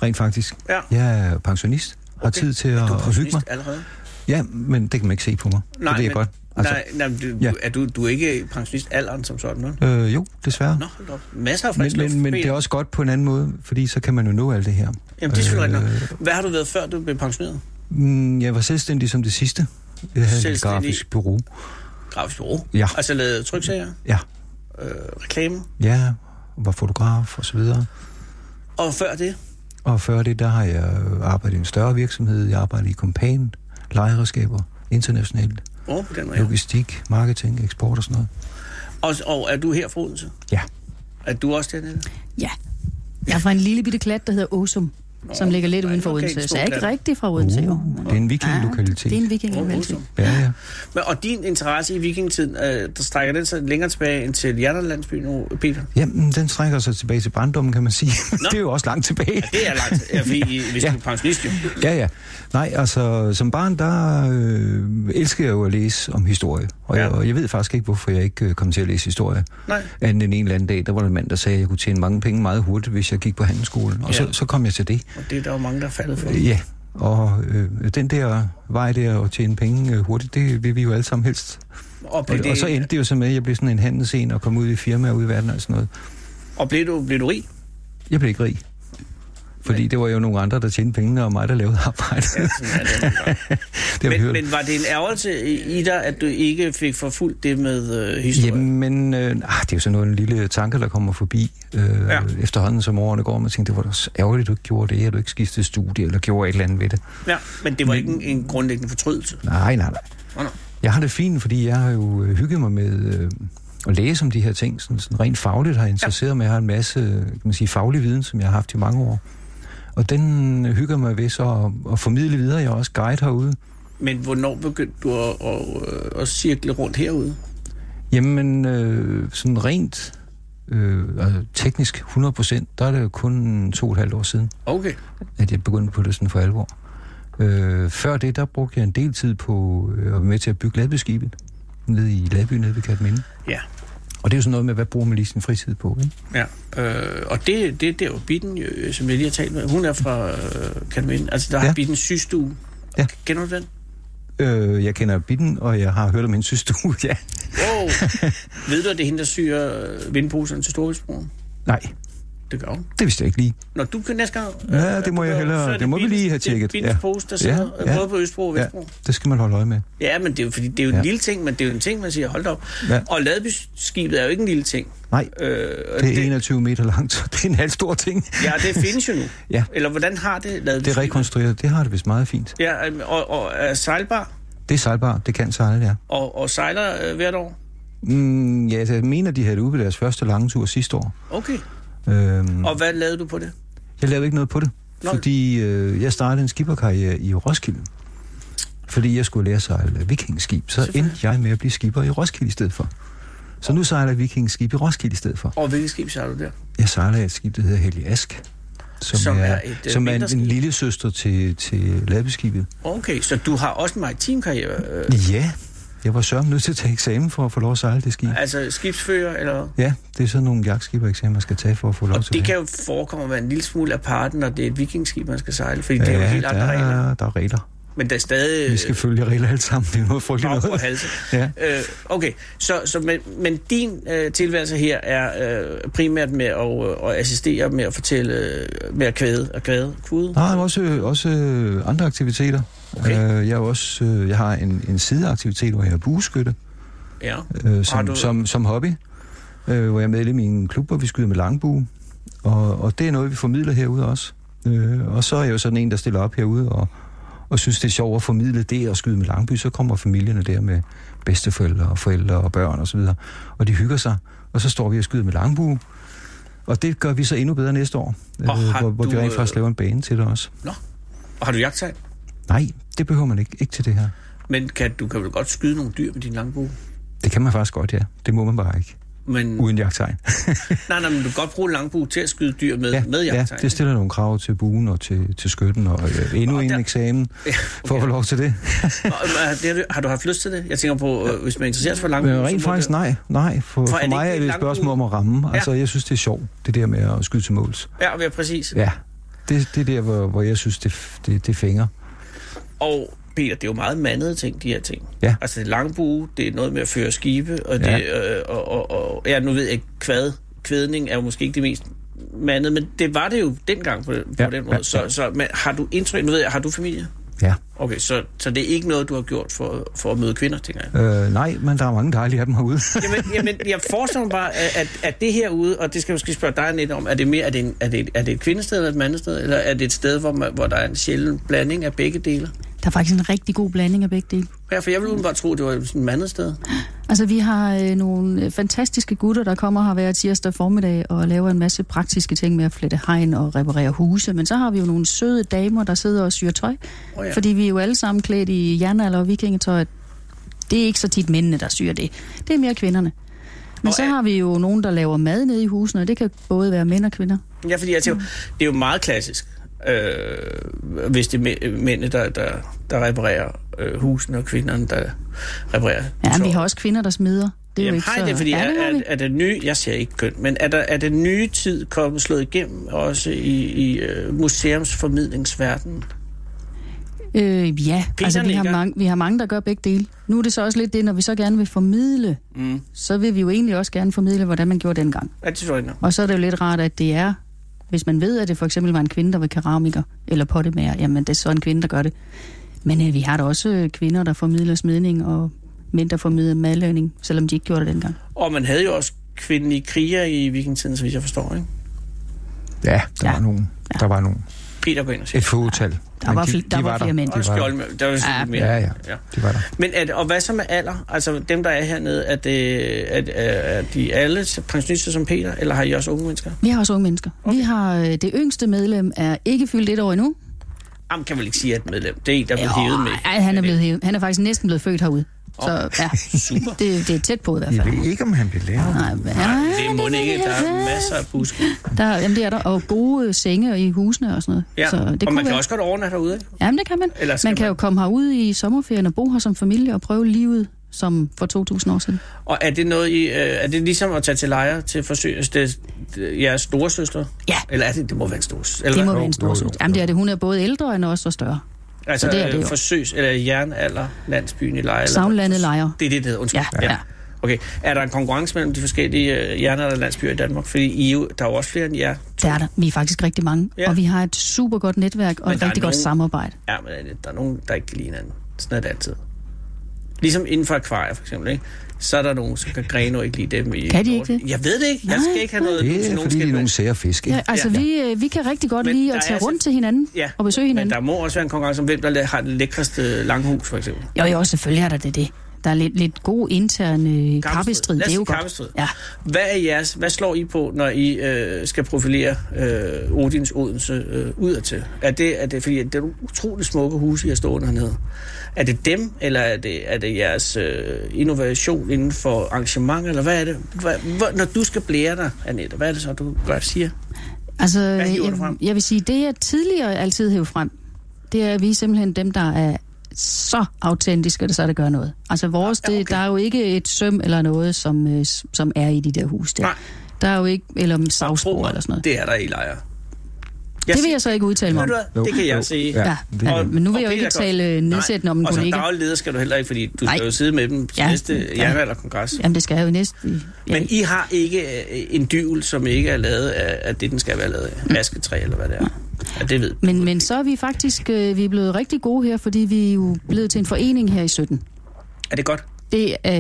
Rent faktisk.
Ja.
Jeg er pensionist. Har
Okay.
tid til at, at hygge mig.
Allerede?
Ja, men det kan man ikke se på mig.
Nej,
det ved jeg
men,
godt.
Altså, nej, nej, men du,
ja.
ja. er du, du er ikke pensionist alderen som sådan, vel?
Øh, jo, desværre.
Nå, hold da op. Masser af frisk
men, men, men det er også godt på en anden måde, fordi så kan man jo nå alt det her.
Jamen, det er selvfølgelig øh... nok. Hvad har du været før, du blev pensioneret?
Mm, Jeg var selvstændig som det sidste. Jeg havde et
Selvstændig.
grafisk bureau.
Grafisk bureau?
Ja.
Altså lavet tryksager,
Ja,
øh, reklame?
ja var fotograf og så videre.
Og før det?
Og før det, der har jeg arbejdet i en større virksomhed. Jeg arbejder i kompan, lejeredskaber, internationalt,
Over på den måde.
ja.
ja.
logistik, marketing, eksport og sådan noget.
Og, og er du her fra Odense?
Ja.
Er du også dernede?
Ja. Jeg er fra en lille bitte klat, der hedder Åsum, som ligger lidt
nej,
uden for
okay,
Odense.
en
Så
stor
jeg er ikke
klat. Uh,
rigtig fra Odense, jo.
Uh, Det er en vikinglokalitet.
Det er en viking,
Åh,
oh,
Åsum.
Ja, ja.
Men, og din interesse i vikingetiden, øh, der strækker den sig længere tilbage end til Hjerterlandsby nu, Peter?
Jamen, den strækker sig tilbage til barndommen, kan man sige. det er jo også langt tilbage.
Det er langt, ja, fordi ja. hvis du er pensionist jo.
Ja, ja. Nej, altså, som barn, der øh, elsker jeg jo at læse om historie. Og,
Ja.
ja. jeg, og jeg ved faktisk ikke, hvorfor jeg ikke øh, kom til at læse historie.
Nej.
Anden end en eller anden dag, der var der en mand, der sagde, at jeg kunne tjene mange penge meget hurtigt, hvis jeg gik på handelsskolen. Og ja.
Ja.
så, så kom jeg til det.
Og det er der jo mange, der er faldet for.
Øh, Ja, og øh, den der vej der at tjene penge øh, hurtigt, det vil vi jo alle sammen helst.
Og
Og,
blev, det,
og så endte det jo så med, at jeg blev sådan en handelsen og kom ud i firmaer ude i verden og sådan noget.
og blev, du, blev du rig?
Jeg blev ikke rig. Fordi det var jo nogle andre, der tjente pengene, og mig, der lavede arbejdet. Ja,
Sådan er det.
det har vi
Men,
hørt.
men var det en ærgelse i i dig, at du ikke fik forfulgt det med øh, historien?
Jamen, øh, ah, det er jo sådan noget, en lille tanke, der kommer forbi øh,
Ja.
ja. efterhånden, som årene går. Man tænker, det var da også ærgerligt, at du ikke gjorde det, at du ikke skiftede studie, eller gjorde et eller andet ved det.
Ja, men det var ikke en, en grundlæggende fortrydelse.
Nej, nej, nej.
Nå, nå.
Jeg har det fint, fordi jeg har jo øh, hygget mig med øh, at læse om de her ting. Sådan, sådan rent fagligt har jeg interesseret mig. Jeg har en masse øh, kan man sige, faglig viden, som jeg har haft i mange år. Og den øh, hygger mig ved så at, at formidle videre. Jeg er også guide herude.
Men hvornår begyndte du at, at, øh, at cirkle rundt herude?
Jamen, øh, sådan rent øh, altså teknisk 100 procent, der er det jo kun to og et halvt år siden,
Okay.
at jeg begyndte på det sådan for alvor. Øh, før det, der brugte jeg en del tid på øh, at være med til at bygge ladbyskibet nede i Ladby, nede ved Katminde.
Ja.
Og det er jo sådan noget med, hvad bruger man lige sin fritid på, ikke?
Ja, øh, og det, det, det er jo Bitten, øh, som jeg lige har talt med. Hun er fra øh, Kalminde. Altså, der ja. har
Ja.
Bitten sygestue.
Ja.
Kender du den?
Øh, jeg kender Bitten, og jeg har hørt om hendes systue, ja.
Wow. Ved du, at det er hende, der syr øh, vindposerne til Storvældsbroen?
Nej,
Det gør hun.
det vidste jeg ikke lige.
Når du kan næste gang...
Ja, det må
du
jeg
gør,
hellere-
så er
det må vi
Bittens-
lige have
det er
tjekket.
Bittens
Ja.
post, der
Ja,
sidder
ja.
både på Østbro og
Ja,
Vestbro. Øh,
det skal man holde øje med.
Ja, ja men det er jo, fordi det er jo en
Ja.
lille ting, men det er jo en ting, man siger, hold da op.
Ja.
Og ladbyskibet er jo ikke en lille ting.
Nej,
Øh, og
det er 21 meter langt, så det er en halv stor ting.
Ja, det findes jo nu.
Ja.
Eller hvordan har det
Det
ladbyskibet?
er rekonstrueret, det har det vist meget fint.
Ja, øhm, og, og er sejlbar
Det er sejlbart, det kan sejle, ja.
og, og sejler øh, hvert år.
Mm, ja, altså, jeg mener, de havde det ude ved deres første lange tur sidste år.
Okay.
Øhm,
Og hvad lavede du på det?
jeg lavede ikke noget på det,
Nå.
fordi øh, jeg startede en skipperkarriere i Roskilde. Fordi jeg skulle lære at sejle vikingskib, så endte jeg med at blive skipper i Roskilde i stedet for. Så nu sejler jeg vikingskib i Roskilde i stedet for.
Og hvilket skib sejler du der?
Jeg sejler i et skib, der hedder Helge Ask,
Som
som, som
er
er,
et, øh,
som er en,
mindre skib.
en lille søster til, til ladbeskibet.
Okay, så du har også en maritim karriere. Øh,
Ja, jeg var sørme nødt til at tage eksamen for at få lov at sejle det skib.
altså skibsfører, eller...
Ja, det er sådan nogle jagtskibereksamen, man skal tage for at få lov
Og
til
det kan jo forekomme at være en lille smule apart, når det er et vikingskib, man skal sejle, fordi det er jo
ja,
helt andre
der,
regler. Øh,
er- der er regler.
Men der er stadig...
Vi skal følge regler alle sammen. Det er noget frygteligt
Bag på
noget.
halsen.
Ja.
Øh, okay, så, så men, men din øh, tilværelse her er øh, primært med at, øh, at assistere med at fortælle, øh, med at kvæde og kvæde, kude.
Der er også, også øh, andre aktiviteter.
Okay.
Øh, jeg, er også, øh, jeg har en, en sideaktivitet, hvor jeg er bueskytte,
Ja.
øh,
Har
som,
du-
som, som hobby. Øh, hvor jeg er medlem i en klub, hvor vi skyder med langbue. Og, og det er noget, vi formidler herude også. Øh, og så er jeg jo sådan en, der stiller op herude og, og synes, det er sjovt at formidle det og skyde med langby. Så kommer familierne der med bedsteforældre og forældre og børn osv. Og, og de hygger sig. Og så står vi og skyder med langbue. Og det gør vi så endnu bedre næste år, øh,
Og har
hvor, hvor vi
du,
rent
øh,
faktisk laver en bane til det også.
Nå. Og har du jagtsejl?
Nej, det behøver man ikke, ikke til det her.
Men kan, du kan vel godt skyde nogle dyr med din langbue?
Det kan man faktisk godt, ja. Det må man bare
Mm.
ikke.
Men,
Uden jagttegn.
nej, nej, men du kan godt bruge en langbue til at skyde dyr med, med
ja,
jagtsejl.
det stiller nogle krav til buen og til, til skytten, og øh, endnu
Nå,
en
der-
eksamen
Ja,
for at få lov til det.
Og, øh, har- det har du- har du haft lyst til det? Jeg tænker på, øh, hvis man er interesseret for langbue...
Men
så må
rent faktisk
det-
nej. nej. For, for,
ligesom er det
for mig
ikke
er det et
langt
spørgsmål om
ude?
at ramme.
Ja.
Altså, jeg synes, det er sjovt, det der med at skyde til måls.
Ja, ja, præcis.
Ja, det, det er der, hvor, hvor jeg synes, det, det, det fænger.
Og Peter, det er jo meget mandede ting, de her ting.
Ja.
Altså det er langbue, det er noget med at føre skibe, og, det, ja. øh, og, og, og ja, nu ved jeg ikke, kvad, kvædning er jo måske ikke det mest mandet, men det var det jo dengang på, på
Ja,
den måde.
ja,
Ja, ja. Så, så men har du indtryk, nu ved jeg, har du familie?
Ja.
Okay, så, så det er ikke noget, du har gjort for, for at møde kvinder, tænker jeg.
Øh, nej, men der er mange dejlige af dem herude.
Jamen, jamen jeg forestiller mig bare, at, at, at det herude, og det skal jeg måske spørge dig lidt om, er det mere, er det, en, er det, et- er det et kvindested eller et mandested, eller er det et sted, hvor, man, hvor der er en sjælden blanding af begge dele?
Der er faktisk en rigtig god blanding af begge dele.
Ja, for jeg ville bare tro, det var sådan et mandested.
Altså, vi har øh, nogle øh, fantastiske gutter, der kommer her hver tirsdag formiddag og laver en masse praktiske ting med at flette hegn og reparere huse. Men så har vi jo nogle søde damer, der sidder og syr tøj.
Åh
Oh,
ja.
ja. Fordi vi er jo alle sammen klædt i jernalder og vikingetøj. Det er ikke så tit mændene, der syr det. Det er mere kvinderne. Men
Nå,
så
er-
har vi jo nogen, der laver mad nede i husene, og det kan både være mænd og kvinder.
Ja, fordi jeg tænker,
Mm.
det er jo meget klassisk, øh, hvis det er mæ- mændene, der, der, der reparerer øh, husene, og kvinderne, der reparerer
Ja, men vi
tøjet.
har også kvinder, der smider. Det er jo
Jamen,
ikke
har I
så...
det, fordi
ja,
er,
det har
er,
vi.
er det nye, jeg ser ikke køn, men er der er det nye tid kommet slået igennem også i, i øh, museumsformidlingsverdenen?
Øh, ja,
Peter
altså vi har,
nikker.
mange, vi har mange, der gør begge dele. Nu er det så også lidt det, når vi så gerne vil formidle,
Mm.
så vil vi jo egentlig også gerne formidle, hvordan man gjorde dengang.
Er det sådan noget?
Og så er det jo lidt rart, at det er, hvis man ved, at det for eksempel var en kvinde, der var keramiker eller pottemager, jamen det er så en kvinde, der gør det. Men øh, vi har da også øh, kvinder, der formidler smidning, og mænd, der formidler madlavning, selvom de ikke gjorde det dengang.
Og man havde jo også kvindelige kriger i vikingetiden, så vidt jeg forstår, ikke?
Ja, der
Ja.
var nogen.
Ja.
Der var nogen.
Peter går ind og siger.
Et fåtal.
Der
Men
var fl- der var flere mænd.
Og
De var der.
skjold, der var
Ja.
ja. mere.
Ja, ja.
ja.
De var der.
Men at, og hvad så med alder? Altså dem, der er hernede, er, det, er, er, er de alle pensionister som Peter, eller har I også unge mennesker?
Vi har også unge mennesker. Okay. Vi har øh, det yngste medlem er ikke fyldt et år endnu.
Jamen, kan vel ikke sige, at et medlem. Det er en, der er blevet hævet med.
Nej, han er blevet hævet. Han er faktisk næsten blevet født herude. Så ja,
Super.
det, det er tæt på i hvert
Jeg
fald.
ved ikke, om han blev lærer.
Nej, ja,
Det er
ved
må
jeg
ikke. Der er
ikke.
masser af buske.
Der, jamen, det er der, og gode øh, senge i husene og sådan noget.
Ja.
Så det
og
kunne
man kan
være.
også godt overnatte herude, ikke?
Jamen, det kan man.
Eller skal
Man kan
man-
jo komme herud i sommerferien og bo her som familie og prøve livet som for 2.000 år siden.
Og er det noget i, øh, er det ligesom at tage til lejre til forsøg, det, det, jeres storesøster?
Ja.
Eller er det, det må være en storesøster?
Det
Eller
må
hvad?
være en
jo,
stor
jo,
søs.
jo.
Jamen, det er det. Hun er både ældre end os og større.
altså,
så det er
øh,
det jo.
forsøgs, eller jernalder, landsbyen i lejre. eller-
Savnlandet lejer.
Det er det, det hedder. Undskyld.
Ja, ja.
Okay. Er der en konkurrence mellem de forskellige øh, jernalder landsbyer i Danmark? Fordi I, er jo- der er jo også flere end jer.
Der er der. Vi er faktisk rigtig mange,
Ja.
og vi har et super godt netværk og
Men
et
der er
rigtig godt
nogen-
samarbejde.
Ja, men øh, der er nogen, der ikke kan lide hinanden. Sådan er det altid. Ligesom inden for akvarier, for eksempel, ikke? Så er der nogen, som kan græne og ikke lide dem. I
Kan de ikke det?
Jeg ved det ikke. Jeg skal
Nej,
ikke have noget. ud
Det
til
er,
nogen
fordi de er
skændvand.
nogle sære fisk. ikke?
Ja, altså,
Ja.
vi, øh, vi kan rigtig godt
Men
lide
der
at
er
tage
altså-
rundt til hinanden
Ja,
og besøge
men
hinanden.
der må også være en konkurrence om, hvem der har det lækreste langhus, for eksempel.
Jo, jo, selvfølgelig er der det, det. Der er lidt, lidt god intern øh, kappestrid,
Lad os
det er jo
sige
godt.
kappestrid.
Ja.
Hvad er jeres? Hvad slår I på, når I øh, skal profilere øh, Odins Odense øh, udadtil? Er det, er det fordi, at det er nogle utroligt smukke huse, I har stående hernede. Er det dem, eller er det, er det jeres øh, innovation inden for arrangement, eller hvad er det? Hvad, hvor, når du skal blære dig, Annette, hvad er det så, du gør siger?
Altså,
hiver du
jeg,
frem?
jeg vil sige, det jeg tidligere altid hævde frem, det er, at vi er simpelthen dem, der er så autentiske, at så det gør noget. Altså vores,
Ja,
ja,
ja, okay.
okay. det, der er jo ikke et søm eller noget, som, øh, s- som er i de der hus der.
Nej.
Der er jo ikke, eller savspor
mig,
eller sådan noget. Det,
Det er der i lejre.
det vil jeg så ikke udtale mig om.
Ved du hvad? Det
Jo,
kan jeg
jo,
sige.
ja.
Ja,
det-
ja, men nu
Og
vil jeg jo
Peter
ikke
godt.
tale øh, nedsættende om en
og som
kollega.
daglig leder skal du heller ikke, fordi du
Nej.
skal jo sidde med dem til
Ja.
næste
Ja.
jernalderkongres. Ja.
Jamen, det skal jeg jo næsten... Ja,
Men I har ikke øh, en dyvel, som ikke er lavet af, af det, den skal være lavet af.
Mm.
Asketræ eller hvad det er. Ja, det ved du.
Men, men så er vi faktisk øh, vi er blevet rigtig gode her, fordi vi er jo blevet til en forening her i 17.
Er det godt?
Det, øh,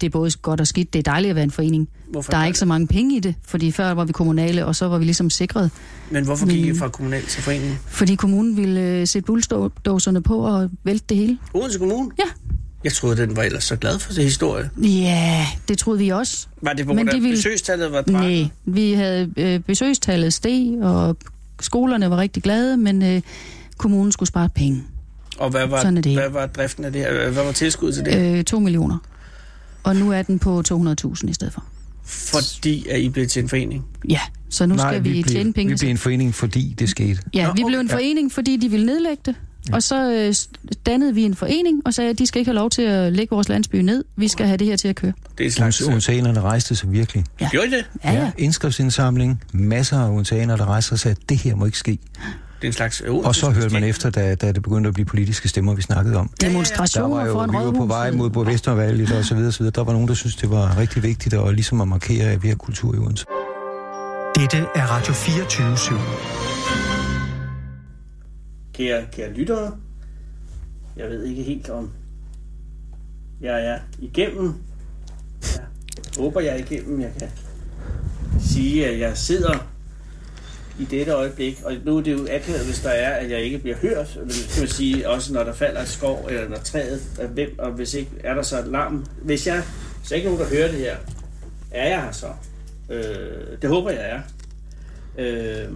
det er både godt og skidt. Det er dejligt at være en forening.
Hvorfor
Der er
gør
ikke så mange penge i det, fordi før var vi kommunale, og så var vi ligesom sikret.
Men hvorfor gik I
Men-
fra kommunal til foreningen?
Fordi kommunen ville øh, sætte bulldåserne på og vælte det hele.
Odense Kommune?
Ja.
Jeg troede, den var ellers så glad for sin historie.
Ja, det troede vi også.
Var det på
Men
grund af,
det ville-
besøgstallet var dræbt?
Nej, vi havde øh, besøgstallet steg, og skolerne var rigtig glade, men øh, kommunen skulle spare penge.
Og hvad var,
Sådan er det.
hvad var driften af det her? Hvad var tilskuddet til det? Øh.
Øh, 2 millioner. Og nu er den på 200.000 i stedet for.
Fordi at I blev til en forening.
Ja, så nu
Nej,
skal vi,
vi
tjene penge.
Vi blev en forening, fordi det skete.
Ja,
Nå,
vi blev en forening, fordi de ville nedlægge det. Og så øh, s- dannede vi en forening og sagde, at de skal ikke have lov til at lægge vores landsby ned. Vi skal have det her til at køre.
Det er en slags...
Ons-
Uh,
Ontanerne rejste sig virkelig.
Ja.
Gjorde I det?
øh, Ja, ja.
Indskriftsindsamling, masser af ontaner, der rejste sig og sagde, at det her må ikke ske.
Det er en slags... Uh,
Og så hørte man efter, da, da det begyndte at blive politiske stemmer, vi snakkede om. Der
Demonstrationer
var jo,
foran
vi var på
rådhuset.
vej mod på Vestervalget og så videre, så videre. Der var nogen, der syntes, det var rigtig vigtigt at, ligesom at markere, at vi har kultur i Odense.
Dette er Radio 24 /7.
Kære, kære lyttere, jeg ved ikke helt om... Jeg er igennem. Jeg håber, jeg er igennem. Jeg kan sige, at jeg sidder i dette øjeblik, og nu er det jo akavet, hvis der er, at jeg ikke bliver hørt, men det kan man sige, også når der falder et skov, eller når træet er hvem, og hvis ikke, er der så et larm. Hvis jeg, hvis der ikke er nogen, der hører det her, er jeg her så? Øh, det håber jeg er. Øh,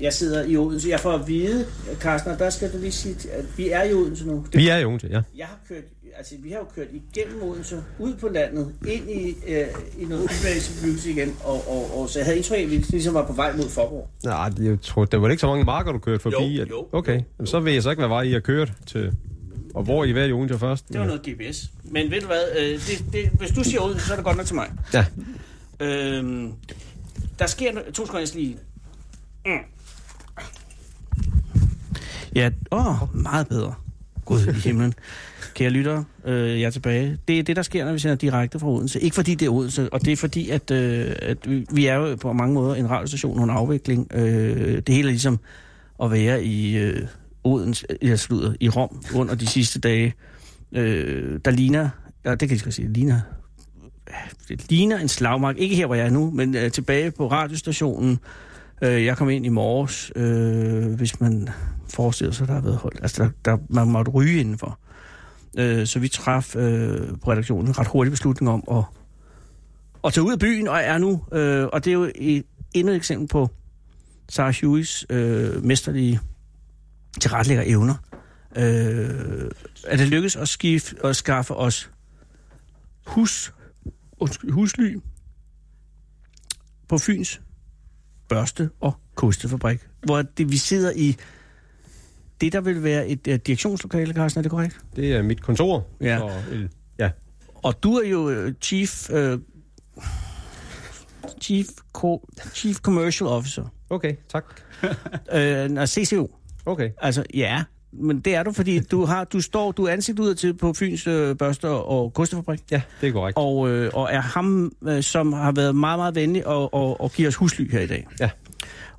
jeg sidder i Odense. Jeg får at vide, Carsten, og der skal du lige sige, at vi er i Odense nu. Det,
Vi er i Odense, ja.
jeg har kørt, altså vi har jo kørt igennem Odense, ud på landet, ind i, øh, i noget udvalgsbebyggelse igen, og, og, og, så jeg havde indtryk af, at vi ligesom var på vej mod Forborg.
Nej, jeg tror, der var ikke så mange marker, du kørte forbi.
Jo,
at-
jo.
Okay, Jamen, så ved jeg så ikke, hvad vej I har kørt til. Og hvor I var i Odense først.
Det var noget GPS. Men ved du hvad, øh, det, det, hvis du siger Odense, så er det godt nok til mig.
Ja.
Øhm, der sker no- to sekunder, jeg skal lige... Mm. Ja, åh, oh, meget bedre. Gud i himlen. Kære lyttere, øh, jeg er tilbage. Det er det, der sker, når vi sender direkte fra Odense. Ikke fordi det er Odense, og det er fordi, at, øh, at vi- vi er jo på mange måder en radiostation under afvikling. Øh, det hele er ligesom at være i øh, Odense, jeg slutter, i Rom under de sidste dage. Øh, der ligner, ja, det kan jeg skal sige, ligner det ligner en slagmark. Ikke her, hvor jeg er nu, men øh, tilbage på radiostationen. Øh, jeg kom ind i morges, øh, hvis man forestiller sig, der har været holdt. Altså, der, der, man måtte ryge indenfor. Øh, så vi traf øh, på redaktionen en ret hurtig beslutning om at, at tage ud af byen, og er nu. Øh, og det er jo et, endnu et eksempel på Sarah Hughes øh, mesterlige tilretlægger evner. Øh, at det lykkedes at, skifte, at skaffe os hus, undskyld, husly på Fyns børste- og kostefabrik, hvor det, vi sidder i det, der vil være et uh, direktionslokale, Carsten, er det korrekt?
Det er mit kontor.
Ja.
Og, øh, ja.
Og du er jo uh, chief, uh, chief, co- chief Commercial Officer,
Okay, tak.
uh, nej, CCO.
Okay.
Altså, ja, men det er du, fordi du, har, du står, du er ansigt ud til på Fyns uh, børste- og kostefabrik.
Ja, det er korrekt.
og, øh, og er ham, øh, som har været meget, meget venlig og, og, og giver os husly her i dag.
Ja.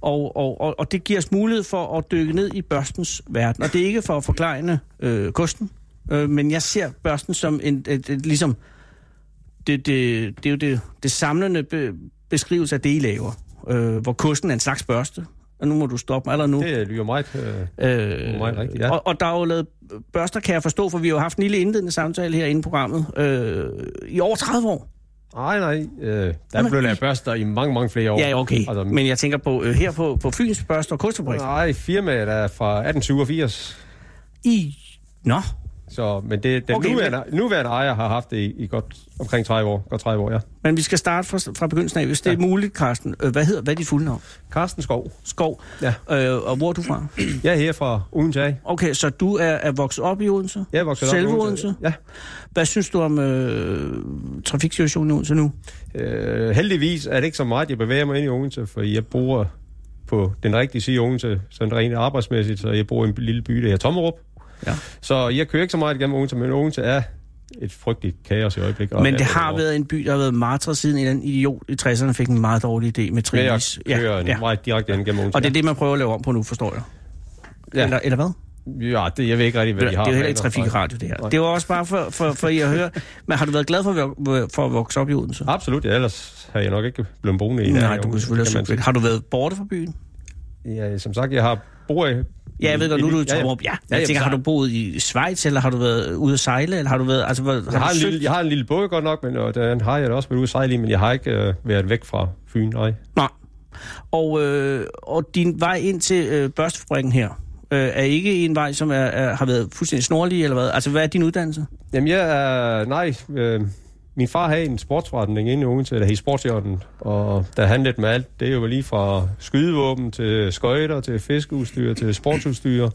Og, og, og, og det giver os mulighed for at dykke ned i børstens verden. Og det er ikke for at forklejne øh, kosten, øh, men jeg ser børsten som en, et, et, ligesom, det, det, det er jo det, det samlende be, beskrivelse af det, I laver. Øh, hvor kosten er en slags børste. Og nu må du stoppe mig, eller nu.
Det lyder meget... Øh,
Øh,
Meget rigtigt, ja.
og, og der er jo lavet børster, kan jeg forstå, for vi har jo haft en lille indledende samtale her inde i programmet øh, i over 30 år.
ej, nej. Øh, der
Jamen,
blev lavet børster i mange, mange flere år.
Ja, okay.
Altså,
Men jeg tænker på øh, her på, på Fyns Børster og Kostfabrik.
Nej, firmaet er fra 1887.
I... Nå,
Så, men det, den
Okay,
okay, nuværende, nuværende ejer har haft det i, i godt, omkring 30 år. Godt 30 år, ja.
men vi skal starte fra, fra begyndelsen af, hvis det er muligt, Carsten. Øh, hvad hedder, hvad er dit fulde navn?
Carsten Skov.
Skov.
Ja.
Øh, og hvor er du fra?
Jeg er her fra Odense af.
Okay, så du er, er vokset op i Odense.
Jeg er vokset op i
Selve
Odense.
Odense.
Ja.
Hvad synes du om øh, trafiksituationen i Odense nu?
Øh, heldigvis er det ikke så meget, jeg bevæger mig ind i Odense, for jeg bor på den rigtige side af Odense, sådan rent arbejdsmæssigt, så jeg bor i en lille by, der hedder Tommerup.
Ja.
Så jeg kører ikke så meget igennem Odense, men Odense er et frygteligt kaos i øjeblikket.
Men det
Og-
har været en by, der har været martret siden en eller anden idiot i 60'erne fik en meget dårlig idé med
Med at
Trinis.
køre ja, ja. meget direkte ind gennem Odense.
Og det er det, man prøver at lave om på nu, forstår jeg.
Ja.
Eller, eller hvad?
Ja, det, jeg ved ikke rigtig, hvad
Det,
de
det
har.
er jo heller
planer
ikke
for.
trafikradio, det her.
Nej.
Det var også bare for, for, for I at høre. Men har du været glad for, at vok- for at vokse op i Odense?
Absolut, ja, ellers havde jeg nok ikke blevet boende i nærheden
Nej,
af
du kunne
Odense,
selvfølgelig
kan man
have
sige.
cyklet. Har du været borte fra byen?
Ja, som sagt, jeg har bor i...
Ja, jeg ved godt, nu er du i
Ja, ja.
Torup. Ja,
Ja, ja,
jeg tænker,
så-
har du boet i Schweiz, eller har du været ude at sejle, eller har du været... Altså, hvor-
Jeg har,
du
en
søgt-
lille, jeg har en lille båd godt nok, men og den har jeg da også været ude at sejle i, men jeg har ikke øh, været væk fra Fyn, nej.
Nej. Og, øh, og din vej ind til øh, børstefabrikken her, øh, er ikke en vej, som er, er, har været fuldstændig snorlig, eller hvad? Altså, hvad er din uddannelse?
Jamen, jeg er... Nej, øh, min far havde en sportsforretning inde i Odense, der hed Sportsjorden, og der handlede med alt. Det er jo lige fra skydevåben til skøjter, til fiskeudstyr, til sportsudstyr.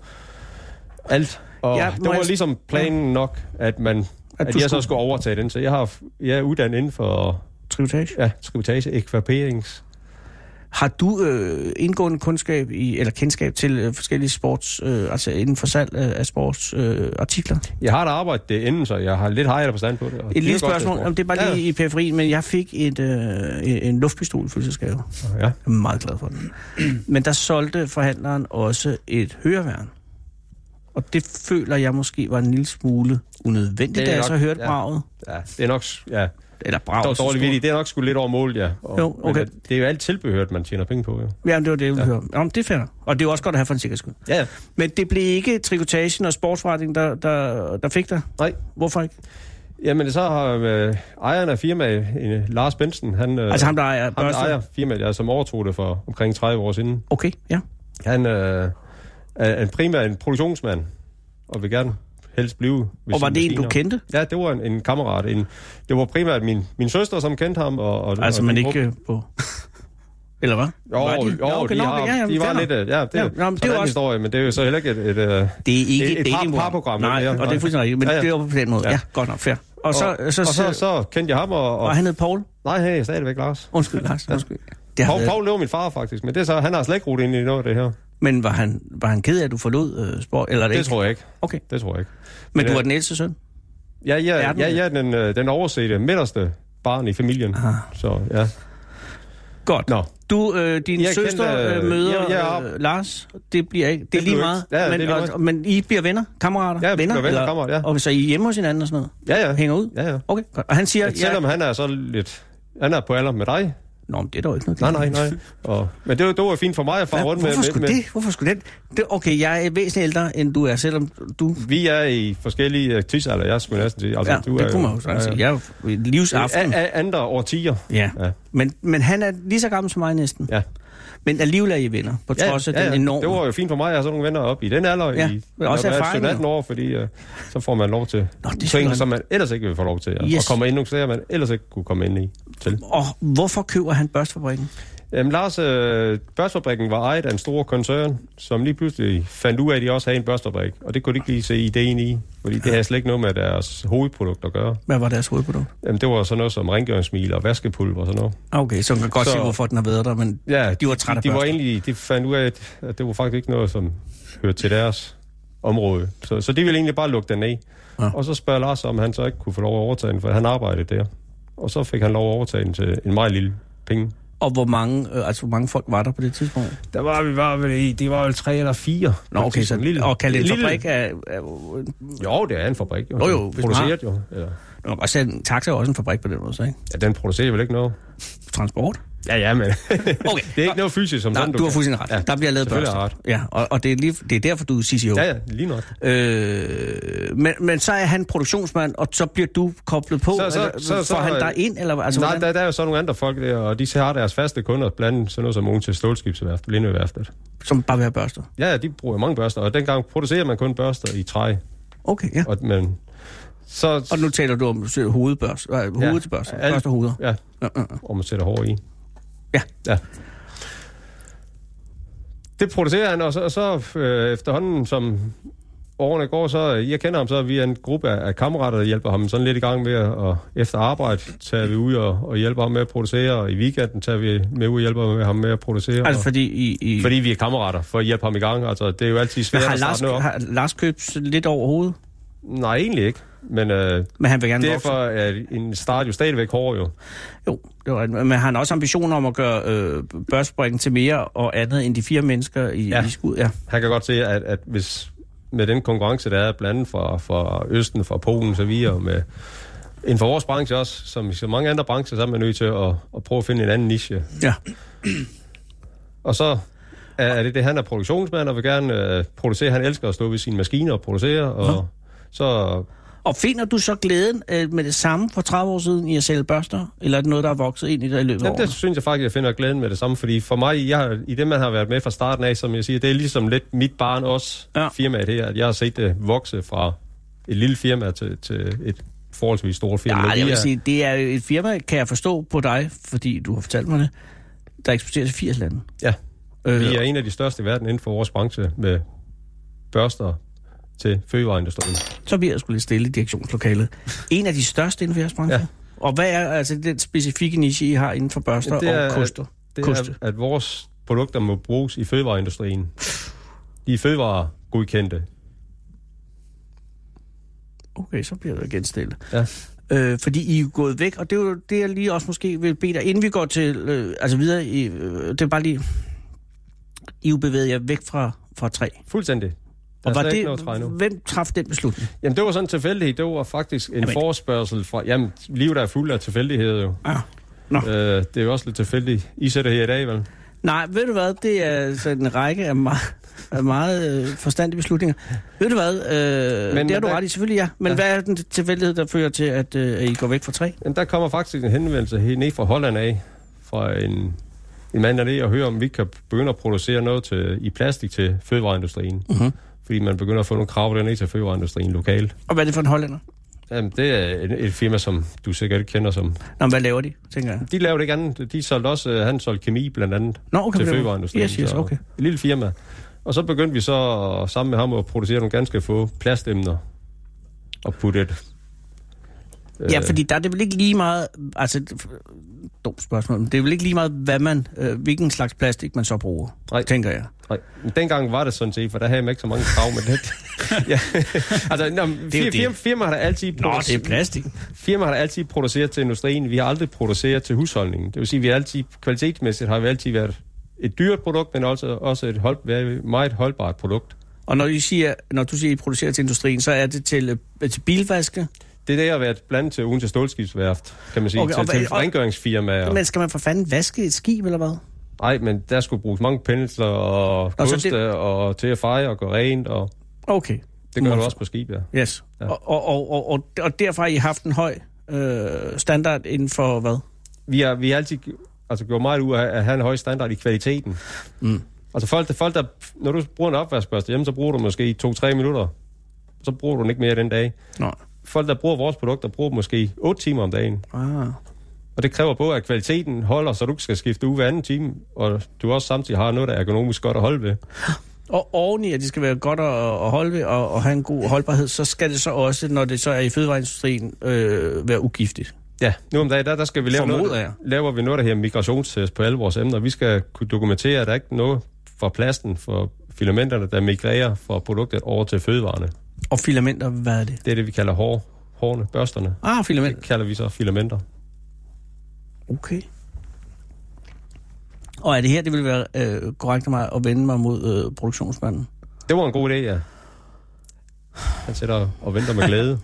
Alt. Og
Ja,
ja,
må
det var
jeg-
ligesom planen nok, at man... At, at
du
jeg så
skulle-
skulle overtage den, så jeg, har, jeg er uddannet inden for
Trivotage.
ja, skrivetage, ekvaperings...
Har du øh, indgående kundskab i, eller kendskab til øh, forskellige sports, øh, altså inden for salg af, af sportsartikler? Øh, artikler?
Jeg har da arbejdet det inden, så jeg har lidt hejere forstand på det. og
Et lille
dyrker også
spørgsmål,
sport.
om det er bare lige i periferien, men jeg fik et, øh, en- en luftpistol i fødselsdagsgave.
Ja, ja.
Jeg er meget glad for den. Men der solgte forhandleren også et høreværn. Og det føler jeg måske var en lille smule
Det
unødvendigt,
er
da jeg
nok-
så hørte
ja.
braget.
ja, det er nok... s- Ja,
Eller braget.
dårligt
så
dårlig
stort.
vildt. Det er nok sgu lidt over målet, ja. Og,
Jo, okay.
Men, øh, det er jo alt tilbehørt, man tjener penge på, jo.
Jamen, det var det, jeg ville ja. høre. Jamen, det er fair. Og det er jo også godt at have for en sikkerheds skyld.
Ja,
Men det blev ikke trikotagen og sportsforretningen, der, der, der fik dig?
Nej.
Hvorfor ikke?
Jamen, så har øh, ejeren af firmaet, en, øh, Lars Bensen, han... Øh,
Altså ham, der ejer
ham, der
børsten?
ejer firmaet, ja, som overtog det for omkring 30 år siden.
Okay, ja.
Han øh, er en primær en produktionsmand, og vil gerne helst blive... ved
Og var
sine
det en, du
maskiner.
kendte?
Ja, det var en, en kammerat. En, det var primært min, min søster, som kendte ham. Og, og,
Altså,
og
man
min
ikke øh, på... Eller hvad?
Jo,
Var de?
jo,
Nå, okay,
de,
nå,
har,
ja, jamen,
de var
fair
lidt...
nok.
øh, Ja, det,
Ja,
ja,
nå, men det er
det er
jo
en
også-
historie, men det er jo så heller ikke et... et, øh,
Det er ikke
Et-
et,
et par- parprogram,
Nej,
ja,
og det er
nej.
fuldstændig rigtigt, men
Ja, ja.
det var på den måde. Ja,
Ja.
godt nok, fair. Og så,
og,
så,
og så, så kendte jeg ham, og,
og
og
han hed Paul.
nej, hey, stadigvæk Lars.
Undskyld, Lars. Undskyld. Det har
Paul,
været,
Paul det var min far, faktisk, men det er så, han har slet ikke rodet ind i noget af det her.
men var han, var han ked af, at du forlod øh, sport? Eller er det,
Det
ikke?
tror jeg ikke.
Okay.
Det tror jeg ikke.
Men du
det-
var den ældste søn?
Ja, ja,
Er du
ja,
det?
ja den, øh, den oversete, midterste barn i familien.
Ah.
Så ja.
Godt.
Nå,
Du, øh, din jeg
Jeg
søster
kendte,
kendte,
øh,
øh, møder
ja, ja.
Øh, Lars. Det bliver ikke. Det, er
Det
lige
blev
meget.
ikke- ja, ja,
men,
det er lige meget.
og, men I bliver venner, kammerater?
Ja, vi
Ah, venner,
bliver venner,
eller-
kammerater, ja.
Og så I er hjemme hos hinanden og sådan noget?
ja, ja.
Hænger ud?
Ja, ja.
Okay, godt. Og han siger...
Ja, selvom han er så lidt... Han er på alder med dig.
Nå, men det er dog ikke noget.
Nej,
galt.
nej, nej. Og, men det var, det var fint for mig at fare
Hvad,
rundt med.
hvorfor skulle
med,
det? Hvorfor skulle det? det? Okay, jeg er væsentligt ældre, end du er, selvom du...
Vi er i forskellige øh, tidsalder, jeg skulle næsten sige. Altså,
Ja,
du
det
er
kunne man jo sådan sige. Jeg er jo i livsaften.
A- a- andre årtier.
Ja.
Ja.
Men, men han er lige så gammel som mig næsten.
Ja.
Men alligevel er I venner, på trods af den enorme...
Det var jo fint for mig, at jeg har sådan nogle venner op i den alder,
Ja,
ja, i,
men også
når man er
erfaring,
17-18 år, fordi uh, så får man lov til
Nå, det er
ting,
sådan-
som man ellers ikke vil få lov til, og,
Yes.
og kommer ind nogle steder, man ellers ikke kunne komme ind i. Til.
Og hvorfor køber han børstfabrikken?
Jamen, Lars, øh, børstfabrikken var ejet af en stor koncern, som lige pludselig fandt ud af, at de også havde en børstfabrik, og det kunne de ikke lige se ideen i, fordi det havde slet ikke noget med deres hovedprodukt at gøre.
Hvad var deres hovedprodukt?
Jamen, det var sådan noget som rengøringsmil og vaskepulver og sådan noget.
Ah, Okay, så man kan godt
Så-
se, hvorfor den har været der, men
Ja,
de var trætte af
de, de var
børster.
egentlig, de fandt ud af, at- at det var faktisk ikke noget, som hørte til deres område. Så, så de ville egentlig bare lukke den af.
Ja.
Ja. Og så spørger Lars, om han så ikke kunne få lov at overtage den, for han arbejdede der. Og så fik han lov at overtage den til en meget lille penge.
Og hvor mange, øh, altså, hvor mange folk var der på det tidspunkt?
Der var vi bare vel i, det var vel tre eller fire.
Nå, okay, så, og kalde en fabrik er, er,
Jo, det er en fabrik, jo.
Jo, jo, hvis
Den
man har-
produceret jo. Eller,
er, også en taxa er også en fabrik på den måde, så ikke?
ja, den producerer vel ikke noget.
Transport?
Ja, ja, men
Okay.
det er ikke noget fysisk, som
Nej,
sådan,
du har
kan-
fuldstændig ret. Ja, der bliver lavet
selvfølgelig
børster.
har jeg
Ja, og, og det, er lige, det er derfor, du er CCO.
Ja, ja, lige nok.
Øh, men, men så er han produktionsmand, og så bliver du koblet på.
Så- så-
eller,
så- så-
får han dig ind, eller hvad? altså,
Altså, Nej,
hvordan?
der, der er jo så nogle andre folk der, og de har deres faste kunder, blandt andet sådan noget som Odense Stålskibsværft, Lindøværftet.
Som bare vil have børster.
Ja, ja, de bruger mange børster, og dengang producerer man kun børster i træ.
Okay, ja.
Og, men, så,
Og nu taler du om øh, hovedbørster, øh, hovedet til børster,
Alt-
børster hoveder.
Ja,
Ja, ja, ja.
og man sætter hår i.
Ja.
ja. Det producerer han, og så, og så øh, efterhånden, som årene går, så øh, jeg kender ham så via en gruppe af, af kammerater, der hjælper ham sådan lidt i gang med at, og efter arbejde tager vi ud og, og hjælper ham med at producere, og i weekenden tager vi med ud og hjælper ham med at producere.
Altså
og-
fordi i... i
Fordi vi er kammerater, for at hjælpe ham i gang. Altså, det er jo altid
men
svært
har
at
Lars,
starte noget op.
har Lars købt lidt over hovedet?
Nej, egentlig ikke. Men øh,
Men han vil gerne
derfor
vokse.
er en start jo stadigvæk hård, jo.
Jo, det var, men han har også ambitioner om at gøre øh, børsbrækken til mere og andet end de fire mennesker i, ja.
Ja.
i skud. Ja.
Han kan godt se, at, at hvis med den konkurrence, der er blandt andet fra, fra Østen, fra Polen, så videre, og med inden for vores branche også, som i så mange andre brancher, så er man nødt til at, at prøve at finde en anden niche.
Ja.
Og så er, er det det, han er produktionsmand, og vil gerne øh, producere. Han elsker at stå ved sine maskiner og producere, og Nå. så
Og finder du så glæden øh, med det samme for 30 år siden i at sælge børster? Eller er det noget, der er vokset ind i dig i løbet af
Jamen,
årene?
det synes jeg faktisk, jeg finder glæden med det samme, fordi for mig, jeg, i det man har været med fra starten af, som jeg siger, det er ligesom lidt mit barn også,
Ja.
ja. firmaet her, at jeg har set det vokse fra et lille firma til, til et forholdsvis stort firma.
Ja,
Vi
jeg
er-
vil sige, det er jo et firma, kan jeg forstå på dig, fordi du har fortalt mig det, der eksporterer til 80 lande.
ja,
Øh,
vi er en af de største i verden inden for vores branche med børster til fødevareindustrien.
Så bliver jeg sgu lidt stille i direktionslokalet. En af de største inden for jeres branche. Ja.
Ja.
Og hvad er altså den specifikke niche, I har inden for børster
Jamen, det
er,
er-
og koster?
Det
Koste.
er, at vores produkter må bruges i fødevareindustrien. De er fødevaregodkendte.
Okay, så bliver jeg igen stille.
Ja.
Øh, fordi I er jo gået væk, og det er jo det, jeg lige også måske vil bede dig, inden vi går til, øh, altså videre, i, øh, det er bare lige, I er jo bevæget jer væk fra, fra træ.
Fuldstændig. Der
Og
er
var
slet ikke noget træ
det,
nu.
hvem træffede den beslutning?
Jamen, det var sådan en tilfældighed. Det var faktisk en
Jamen.
jamen. forspørgsel fra... Jamen, livet er fuld af tilfældigheder jo.
Ah.
Øh, det er jo også lidt tilfældigt. I sætter her i dag, vel?
Nej, ved du hvad, det er altså en række af meget, af meget øh, forstandige beslutninger. Ved du hvad, øh, men,
Men-
det har
men
du
der-
ret i, selvfølgelig ja. Men ja.
Ja.
hvad er den tilfældighed, der fører til, at, øh, at I går væk fra træ?
Jamen, der kommer faktisk en henvendelse helt ned fra Holland af, fra en, en mand dernede, og hører, om vi kan begynde at producere noget til, i plastik til fødevareindustrien.
Mhm.
Fordi man begynder at få nogle krav dernede til fødevareindustrien lokalt.
Og hvad er det for en hollænder?
Jamen, det er et, et firma, som du sikkert ikke kender som...
Nå, men hvad laver de, tænker jeg.
De lavede ikke andet. De solgte også... øh, Han solgte kemi, blandt andet.
Nå, okay.
til
men det-
fødevareindustrien.
Yes, yes,
så
okay.
Et lille firma. Og så begyndte vi så øh, sammen med ham at producere nogle ganske få plastemner og putte et... øh,
Ja, fordi der er det vel ikke lige meget, altså, det- dumt spørgsmål, men det er vel ikke lige meget, hvad man, øh, hvilken slags plastik man så bruger,
Nej.
tænker jeg.
Nej, men dengang var det sådan set, for der havde man ikke så mange krav med det. ja. Altså, nå, men
jo
fir,
det.
firma, firma har der altid
Nå, det
produceret,
er plastik.
firma har der altid produceret til industrien. Vi har aldrig produceret til husholdningen. Det vil sige, vi har altid, kvalitetsmæssigt har vi altid været et dyrt produkt, men også, også et hold, meget holdbart produkt.
Og når, I siger, når du siger, at I producerer til industrien, så er det til, øh, til bilvaske.
Det er det, jeg har været blandt til ugen til Stålskibsværft, kan man sige,
Okay,
okay,
og
til, til
hvad- og-
rengøringsfirmaer.
Ja. Men skal man for fanden vaske et skib, eller hvad?
Nej, men der skulle bruges mange pensler og
Nå, så
koste det... og til at feje og gå rent, og
Okay.
det gør
Nå,
du
så-
også på skib, ja.
Yes. Ja.
Ja.
Og, og, og, og, og, og derfor har I haft en høj øh, standard inden for hvad?
Vi har, vi har altid altså, gjort meget ud af at have en høj standard i kvaliteten.
Mm.
Altså folk, folk der, når du bruger en opvaskbørste hjemme, så bruger du måske 2-3 minutter. Så bruger du den ikke mere den dag.
Nå.
Folk, der bruger vores produkter, bruger dem måske 8 timer om dagen.
Ah.
Og det kræver både, at kvaliteten holder, så du ikke skal skifte ud hver anden time, og du også samtidig har noget, der er økonomisk godt at holde ved.
Og oveni, at det skal være godt at, at holde ved og, og have en god holdbarhed, så skal det så også, når det så er i fødevareindustrien, øh, være ugiftigt.
Ja, nu om dagen, der, der skal vi lave
Formoder
noget,
jeg.
laver vi noget, der her migrationstest på alle vores emner. Vi skal kunne dokumentere, at der ikke er noget fra plasten, for filamenterne, der migrerer fra produktet over til fødevarene.
Og filamenter, hvad er det?
Det er det, vi kalder hår, hårene, børsterne.
Ah,
Det
filament.
kalder vi så filamenter.
Okay. Og er det her, det vil være øh, korrekt af mig at vende mig mod øh, produktionsmanden?
Det var en god idé, ja. Han sætter og venter med glæde.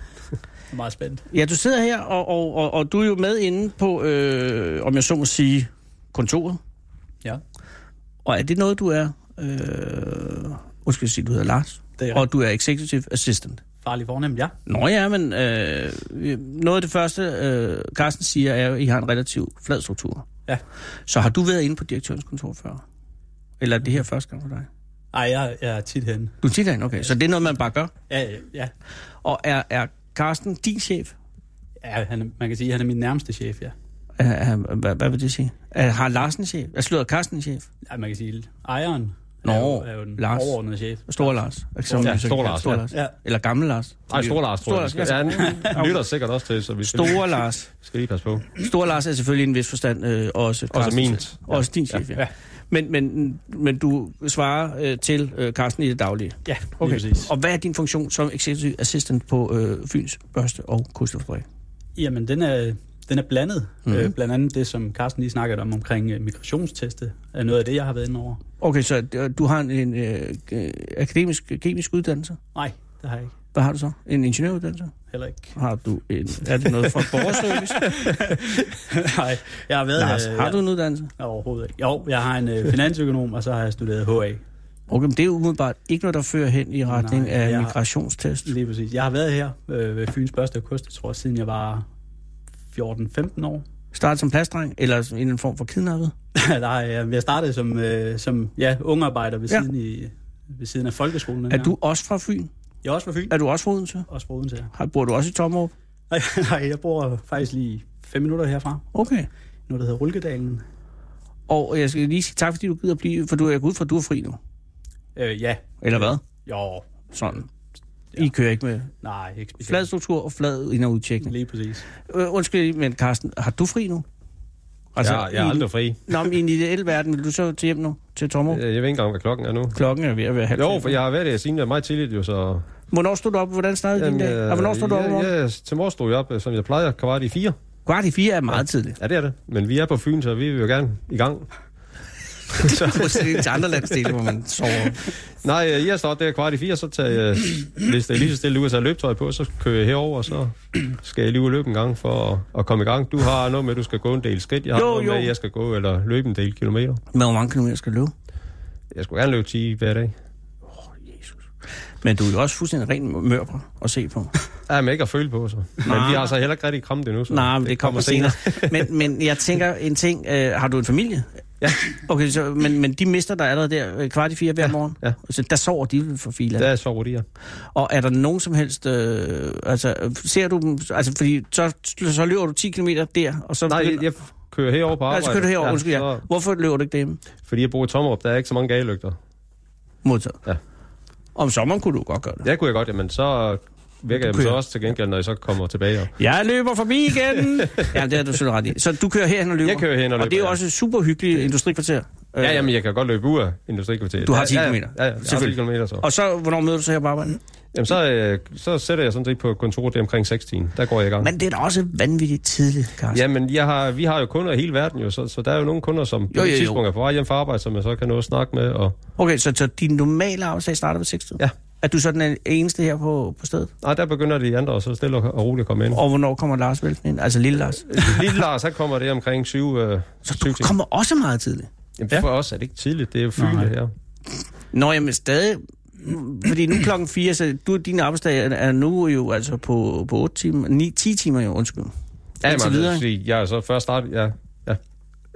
Meget spændt.
Ja, du sidder her, og, og, og, og du er jo med inde på, øh, om jeg så må sige, kontoret.
Ja.
Og er det noget, du er... Øh, undskyld, jeg siger, du hedder Lars.
Det er
Og du er executive assistant.
farligt fornemt, ja.
Nå ja, men øh, noget af det første, øh, Carsten siger, er jo, at I har en relativt flad struktur.
Ja.
Så har du været inde på direktørens kontor før? Eller er det her første gang for dig?
Ej, jeg, jeg er tit henne.
Du er tit derinde, okay. Så det er noget, man bare gør.
Ja, ja, ja.
Og er, er Carsten din chef?
ja han, er- man kan sige, at han er min nærmeste chef, ja.
Er, er, hvad, hvad vil det sige? Er, har Larsen chef? Er slået Carsten chef?
ja man kan sige, at ejeren
Nå,
er, jo, er jo den
Lars.
overordnede chef.
Stor Lars. ikke? Som
Ja,
vi så
Stor
kalder
Lars,
Stor
ja.
Lars.
Ja.
Eller gammel Lars.
Nej, Stor Lars, tror jeg.
Stor
Stor
Lars,
Lars, ja, han lytter sikkert også til, så vi skal, lige,
Store Lars.
skal lige passe på.
Stor Lars er selvfølgelig i en vis forstand øh, også Carstens
min.
chef. Også din chef, ja.
Ja.
Men, men, men du svarer øh, til øh, Carsten i det daglige.
Ja, okay. lige præcis.
Og hvad er din funktion som executive assistant på øh, Fyns Børste og Kustofabrik?
Jamen, den er, den er blandet. Mm-hmm.
Mhm.
Øh, blandt andet det, som Carsten lige snakkede om omkring øh, migrationsteste, er noget af det, jeg har været inde over.
Okay, så øh, du har en, en øh, øh, akademisk kemisk uddannelse.
Nej, det har jeg ikke.
Hvad har du så? En ingeniøruddannelse?
Heller ikke.
Har du en, er det noget fra borgerservice?
Nej, jeg har været...
Lars, har
jeg,
du en uddannelse?
Overhovedet ikke. Jo, jeg har en øh, finansøkonom, og så har jeg studeret HA.
Okay, men det er jo umiddelbart ikke noget, der fører hen i retning
Nej,
af
jeg-
migrationstest.
Lige præcis. Jeg har været her øh, ved Fyns Børste og Kost, jeg tror, siden jeg var 14-15 år.
Start som plastdreng, eller som en eller anden form for kidnappet.
Der har jeg, jeg startede som, øh, som ja, ungarbejder ved,
Ja.
ja. siden i, ved siden af folkeskolen.
Er du også fra Fyn?
Jeg er også fra Fyn.
Er du også fra Odense?
Også fra Odense. ja.
Har- Bor du også i Tommerup?
Nej, nej, jeg bor faktisk lige 5 minutter herfra.
Okay.
Noget, der hedder Rulkedalen.
Og jeg skal lige sige tak, fordi du gider blive, for du er ud fra, at du er fri nu.
Øh, ja.
Eller hvad?
Jo,
Sådan.
Ja.
I kører ikke med
nej, ikke specielt.
flad struktur og flad ind- og udtjekning.
Lige præcis.
Øh, undskyld, men Carsten, har du fri nu?
Altså, jeg, jeg er
i-
aldrig fri.
Nå, men i en ideel verden, vil du så til hjem nu? Til Tommerup?
Jeg ved ikke engang, hvad klokken er nu.
Klokken er ved at være halv.
Jo,
fem.
for jeg har været det siden det er meget tidligt, jo, så...
Hvornår stod du op? Hvordan startede din dag? Og hvornår stod du op?
ja,
Ja,
ja, til morgen stod jeg op, øh, som jeg plejer, kvart i fire.
Kvart i fire er meget tidligt.
Ja, det er det. Men vi er på Fyn, så vi vil jo gerne i gang.
Modsætning til andre landsdele, hvor man sover.
Nej, øh, jeg står op der kvart i fire, så tager jeg hvis det er lige så stille ud og tager løbetøj på, så kører jeg herover, og så skal jeg lige ud og løbe en gang for at, at komme i gang. Du har noget med, at du skal gå en del skridt. Jeg har
Jo,
jo, noget jo. med,
jo.
at jeg skal gå eller løbe en del kilometer.
Men hvor mange kilometer skal du løbe?
Jeg skulle gerne løbe 10 hver dag.
Men du er jo også fuldstændig ren mørbrød at se på.
Ja, men ikke at føle på, så. Men
Nej.
vi har så heller ikke rigtig kramt endnu, så
Nej, men det kommer senere. men, men jeg tænker en ting. Øh, har du en familie?
Ja.
Okay, så, men, men de mister der allerede der øh, kvart i fire hver morgen.
ja.
Så der sover de vel for filer.
Der sover de her.
Og er der nogen som helst... Øh, altså, øh, ser du dem... Altså, fordi så, så løber du 10 km der, og så...
Nej, jeg,
begynder-
jeg kører herover på
Nej,
arbejde.
så kører du herover, ja, undskyld, ja.
så-
Hvorfor løber du ikke derhjemme?
Fordi jeg bor i Tommerup, der er ikke så mange gadelygter.
Modtaget.
Ja.
Om sommeren kunne du godt gøre det.
Det kunne jeg godt, jamen så vækker jeg
kører.
dem så også til gengæld, når jeg så kommer tilbage. op.
Jeg løber forbi igen! ja, det har du selvfølgelig ret i. Så du kører herhen og løber?
Jeg kører hen og løber.
Og det er jo
ja.
også et super hyggeligt industrikvarter. Øh,
Ja, jamen, jeg kan godt løbe ud af industrikvarteret.
Du har 10
ja,
kilometer.
Ja, ja, ja
Selvfølgelig.
selvfølgelig. 10 kilometer så.
Og så, hvornår møder du så her på arbejde?
Jamen, så, øh, så sætter jeg sådan set på kontoret det omkring 16. Der går jeg i gang.
Men det er da også vanvittigt tidligt, Carsten.
Jamen, jeg har, vi har jo kunder i hele verden jo, så, så der er jo nogle kunder, som på
Jo,
jo,
jo,
jo,
jo.
tidspunkt er på vej hjem fra arbejde, som jeg så kan nå at snakke med. Og...
Okay, så, så din normale arbejdsdag starter ved 6
Ja.
Er du så den eneste her på, på stedet?
Nej, der begynder de andre, og så stille og og roligt at komme ind.
Og hvornår kommer Lars Velsen ind? Altså lille Lars.
Lille Lars, han kommer det omkring 7 øh,
Så
syv
du
timer.
kommer også meget tidligt.
Jamen, for os er det ikke tidligt, det er jo Fyn,
Nej.
det her.
Nå, jamen stadig... Fordi nu er klokken 4, så du, din arbejdsdag er- er nu jo altså på, på 8 timer, 9, 10 timer jo, undskyld.
Ja,
Indtil
man,
videre.
videre. Sige, jeg er så først start, ja.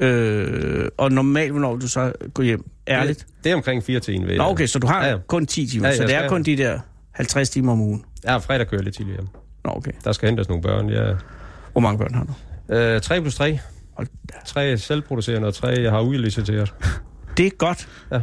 Øh, og normalt, hvornår vil du så gå hjem? Ærligt?
Det, det er omkring 4 til en ved.
Nå, okay, så du har
Ja, ja.
kun 10 timer,
Ja,
så
jeg
det er
skal-
kun de der 50 timer om ugen.
Ja, fredag kører jeg lidt tidligere hjem.
Nå, okay.
Der skal hentes nogle børn, ja.
Hvor mange børn har du?
Øh, 3 plus 3.
Hold
Tre selvproducerende, og tre, jeg har udliciteret.
Det er godt.
Ja.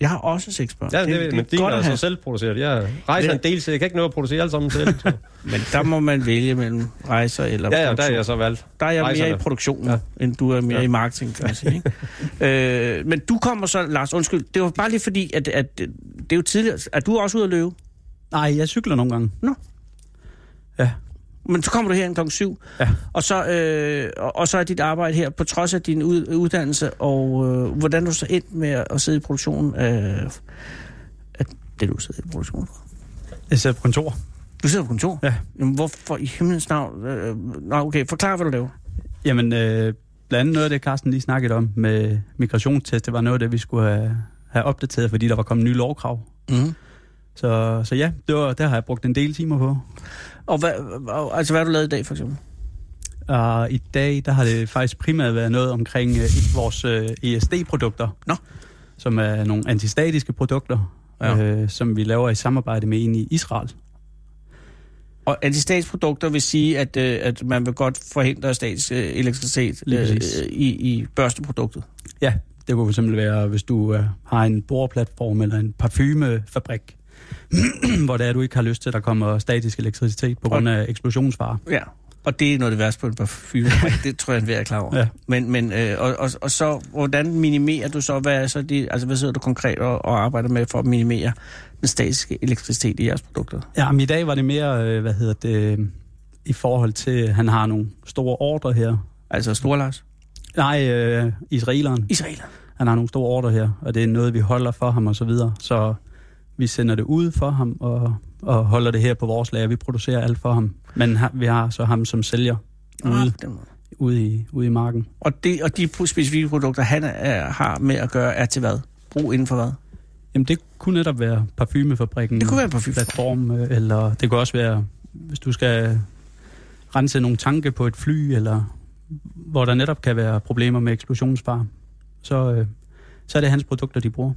Jeg har også seks børn.
Ja, det, det, men din
godt
er
at
altså
have.
selvproduceret. Jeg rejser
Det-
en del, så jeg kan ikke nå at producere alle sammen selv. Så.
Men der må man vælge mellem rejser eller
Ja, ja, der er
produktion.
jeg så valgt.
der er jeg mere
rejserne.
i produktionen, ja.
Ja.
end du er mere ja.
Ja.
i marketing, kan man sige. Ikke? øh, men du kommer så, Lars, undskyld, det var bare lige fordi, at, at øh, det er jo tidligere, er du også ude at løbe?
Nej, jeg cykler nogle gange.
Men så kommer du herhen klokken syv,
Ja.
og, så, øh, og, og så er dit arbejde her, på trods af din ud, uddannelse, og øh, hvordan du så endt med at, at sidde i produktionen af, af det, du sidder i produktionen for.
Jeg sidder på kontor.
Du sidder på kontor?
Ja.
Jamen, hvorfor i himlens navn? Øh, nå, okay, forklar, hvad du laver.
Jamen, øh, blandt andet noget af det, Carsten lige snakkede om med migrationstest, det var noget af det, vi skulle have, have opdateret, fordi der var kommet nye lovkrav.
Mm.
Så, så ja, det, var, det har jeg brugt en del timer på.
Og hvad, og- altså, hvad har du lavet i dag, for eksempel?
Og i dag, der har det faktisk primært været noget omkring øh, et- vores øh, ESD-produkter.
Nå.
Som er nogle antistatiske produkter,
Ja.
ja. øh, som vi laver i samarbejde med en i Israel.
Og antistatsprodukter vil sige, at, øh, at man vil godt forhindre stats øh, elektricitet
Lige
øh,
præcis.
øh, i, i børsteproduktet.
Ja, det kunne fx være, hvis du øh, har en boreplatform eller en parfumefabrik, hvor det er, du ikke har lyst til, at der kommer statisk elektricitet på grund af eksplosionsfare.
Ja. Og det er noget af det værste på en parfume. det tror jeg, at er klar over.
Ja.
Men, men øh, og, og, og, så, hvordan minimerer du så, hvad, er så de, altså, hvad sidder du konkret og, og arbejder med for at minimere den statiske elektricitet i jeres produkter?
Ja, men i dag var det mere, øh, hvad hedder det, i forhold til, at han har nogle store ordre her.
Altså Storlars.
Nej, øh, israeleren.
Israeler.
Han har nogle store ordre her, og det er noget, vi holder for ham og så videre. Så vi sender det ud for ham og, og holder det her på vores lager. Vi producerer alt for ham. Men ha- vi har så ham som sælger ude, ude, i, ude i marken.
Ah, Og, det, og de pro- specifikke produkter, han er, har med at gøre, er til hvad? Brug inden for hvad?
Jamen det kunne netop være parfumefabrikken.
Det kunne være en parfume.
platform, øh, eller det kunne også være, hvis du skal rense nogle tanke på et fly, eller hvor der netop kan være problemer med eksplosionsfare, så, øh, så er det hans produkter, de bruger.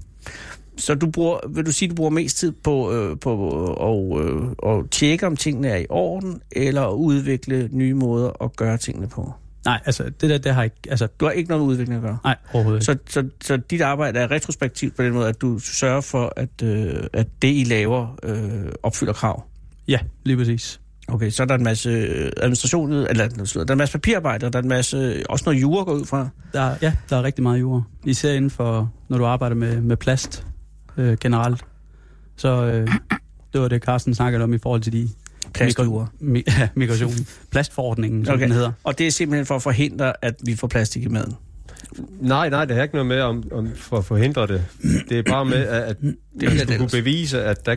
Så du bruger, vil du sige, du bruger mest tid på, øh, på og, øh, og tjekke, om tingene er i orden, eller at udvikle nye måder at gøre tingene på?
Nej, altså det der, det har ikke, altså
Du har ikke noget med udvikling at gøre?
nej, overhovedet ikke.
Så, så, så dit arbejde er retrospektivt på den måde, at du sørger for, at, øh, at det, I laver, øh, opfylder krav?
Ja, lige præcis.
Okay, så er der en masse øh, administration, eller der er en masse papirarbejde, og der er en masse, øh, også noget jura går ud fra.
Der, ja, der er rigtig meget jord. Især inden for, når du arbejder med, med plast øh, generelt. Så øh, det var det, Carsten snakkede om i forhold til de
Plastjura.
mi- ja, migration, plastforordningen, som
Okay.
okay. den hedder.
Og det er simpelthen for at forhindre, at vi får plastik i maden.
Nej, nej, det har ikke noget med om, om for at forhindre det. Det er bare med, at, at
bliver det
man skulle kunne
ellers.
bevise, at der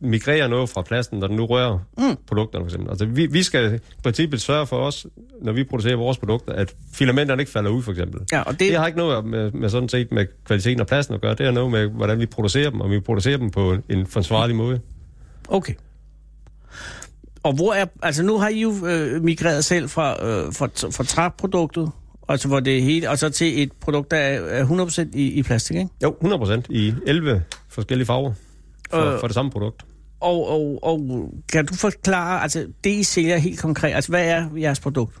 migrerer noget fra pladsen, når den nu rører mm. produkterne for eksempel. Altså, vi, vi skal i princippet sørge for os, når vi producerer vores produkter, at filamenterne ikke falder ud for eksempel.
Ja, og
Det
det,
har ikke noget med, med sådan set med kvaliteten af pladsen at gøre. Det har noget med, hvordan vi producerer dem, og vi producerer dem på en forsvarlig måde.
Okay. Og hvor er... Altså, nu har I jo øh, migreret selv fra, øh, fra, fra træproduktet, altså hvor det hele, og så til et produkt, der er er 100% i, i plastik, ikke?
Jo, 100% i 11 forskellige farver for,
Øh.
for det samme produkt.
Og, og, og kan du forklare, altså det I sælger helt konkret, altså hvad er jeres produkt?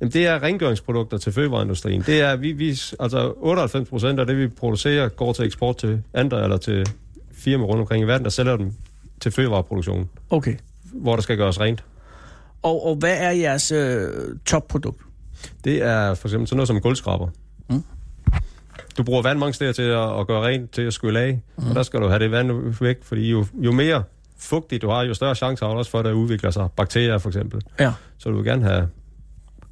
Jamen, det er rengøringsprodukter til fødevareindustrien. Det er, vi, vi, altså 98 procent af det, vi producerer, går til eksport til andre eller til firmaer rundt omkring i verden, der sælger dem til fødevareproduktion,
Okay.
hvor der skal gøres rent.
Og, og hvad er jeres øh, topprodukt?
Det er for eksempel sådan noget som gulvskraber. Mm. Du bruger vand mange steder til at, at gøre rent, til at skylle af, mm. og der skal du have det vand væk, fordi jo, jo mere fugtigt du har, jo større chance har du også for, at der udvikler sig bakterier for eksempel.
Ja.
Så du vil gerne have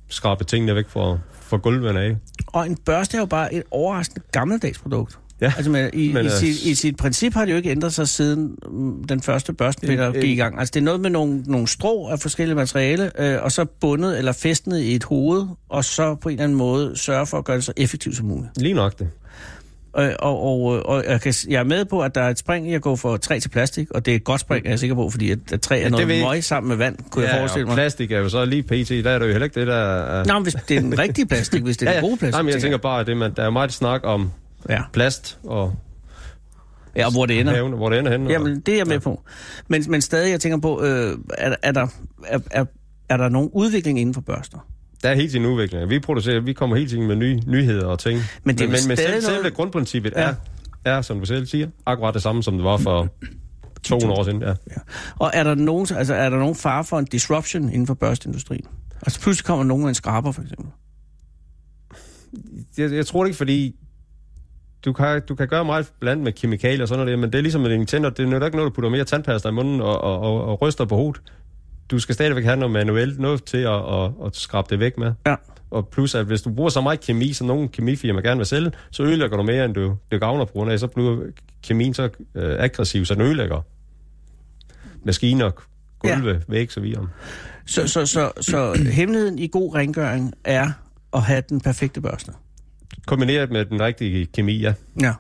skrabet tingene væk fra, fra gulvene af.
Og en børste er jo bare et overraskende gammeldags produkt.
Ja,
Altså, men i,
men,
i,
øh,
sit, i sit princip har det jo ikke ændret sig siden mm, den første børstepiller
En-
gik i gang. Altså, det er noget med nogle, nogle strå af forskellige materiale, øh, og så bundet eller festnet i et hoved, og så på en eller anden måde sørge for at gøre det så effektivt som muligt.
Lige nok det.
Øh, og, og, øh, og jeg, kan, s- jeg er med på, at der er et spring i at gå fra træ til plastik, og det er et godt spring, er jeg sikker på, fordi at, at træ er
det ved
noget
jeg
møg sammen med vand, kunne ja, jeg forestille
og
mig.
plastik er jo så lige pt. Der er det jo heller ikke det, der er...
Nå, men hvis det er den rigtige plastik, hvis det er ja, den gode plastik.
Nej, men jeg tænker bare, at det, man, der er meget snak om
ja.
plast og
ja, og hvor det ender.
haven, hvor det ender henne.
Jamen, det er jeg med på. Men, men stadig, jeg tænker på, øh, er, er, der, er, er, er der nogen udvikling inden for børster?
Og der er hele tiden udvikling. Vi producerer, vi kommer hele tiden med nye nyheder og ting.
Men det er vel
men, men
stadig
selv,
noget-
selve grundprincippet
Ja.
er, er, som du selv siger, akkurat det samme, som det var for 200 år siden. Ja.
Ja. Og er der, nogen, altså, er der nogen fare for en disruption inden for børsteindustrien? Altså pludselig kommer nogen med en skraber, for eksempel.
Jeg, jeg tror det ikke, fordi du kan, du kan gøre meget blandt med kemikalier og sådan noget, der, men det er ligesom med dine tænder. Det er jo ikke noget, du putter mere tandpasta i munden og, og, og, og ryster på hovedet. Du skal stadigvæk have noget manuelt noget til at, at, at skrabe det væk med.
Ja.
Og plus, at hvis du bruger så meget kemi, som nogle kemifirmaer gerne vil sælge, så ødelægger du mere, end du, du gavner på grund af. Så bliver kemien så øh, aggressiv, så den ødelægger maskiner, gulve, ja. væg, så videre.
Så, så, så, så, så hemmeligheden i god rengøring er at have den perfekte børste.
Kombineret med den rigtige kemi, ja.
Ja.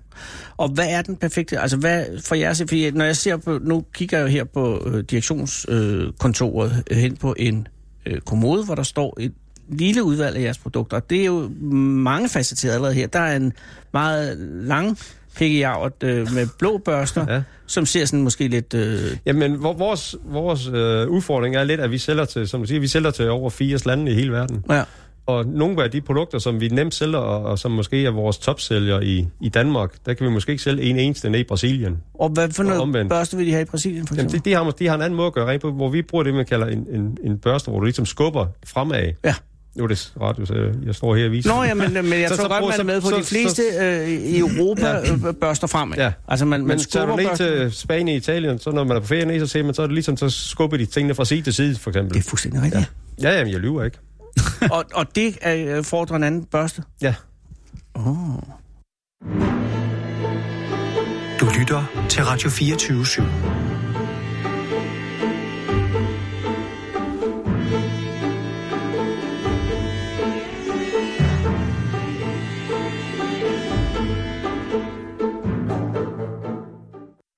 Og hvad er den perfekte, altså hvad for jeres, fordi når jeg ser på, nu kigger jeg jo her på øh, direktionskontoret øh, hen på en øh, kommode, hvor der står et lille udvalg af jeres produkter, og det er jo mange facetteret allerede her. Der er en meget lang pikkejavret øh, med blå børster, ja.
Ja.
som ser sådan måske lidt... Øh,
Jamen, vor- vores, vores øh, udfordring er lidt, at vi sælger til, som du siger, vi sælger til over 80 lande i hele verden.
ja.
Og nogle af de produkter, som vi nemt sælger, og, og som måske er vores topsælger i, i Danmark, der kan vi måske ikke sælge en eneste ned i Brasilien.
Og hvad for
Og
noget
omvendt.
børste vil de have i Brasilien, for
Jamen,
eksempel?
de, de, har, mås- de har en anden måde at gøre rent på, hvor vi bruger det, man kalder en, en, en børste, hvor du ligesom skubber fremad.
Ja.
Nu er det radio, så jeg står her og viser.
Nå ja, men, men jeg så, tror
Så- så
så, godt,
bruger-
man er med på
så-
de
så-
fleste øh, i Europa ja. børster frem. Ikke?
Ja.
Altså man, man
Men tager
skubber
du ned
børsten.
til Spanien og Italien, så når man er på ferie, så ser man, så er det ligesom, så skubber de tingene fra side til side, for eksempel.
Det er fuldstændig rigtigt.
Ja, jamen, jeg lyver ikke.
Ja. Og, og det øh, fordrer en anden børste.
Ja.
Oh.
Du lytter til Radio 24 /7.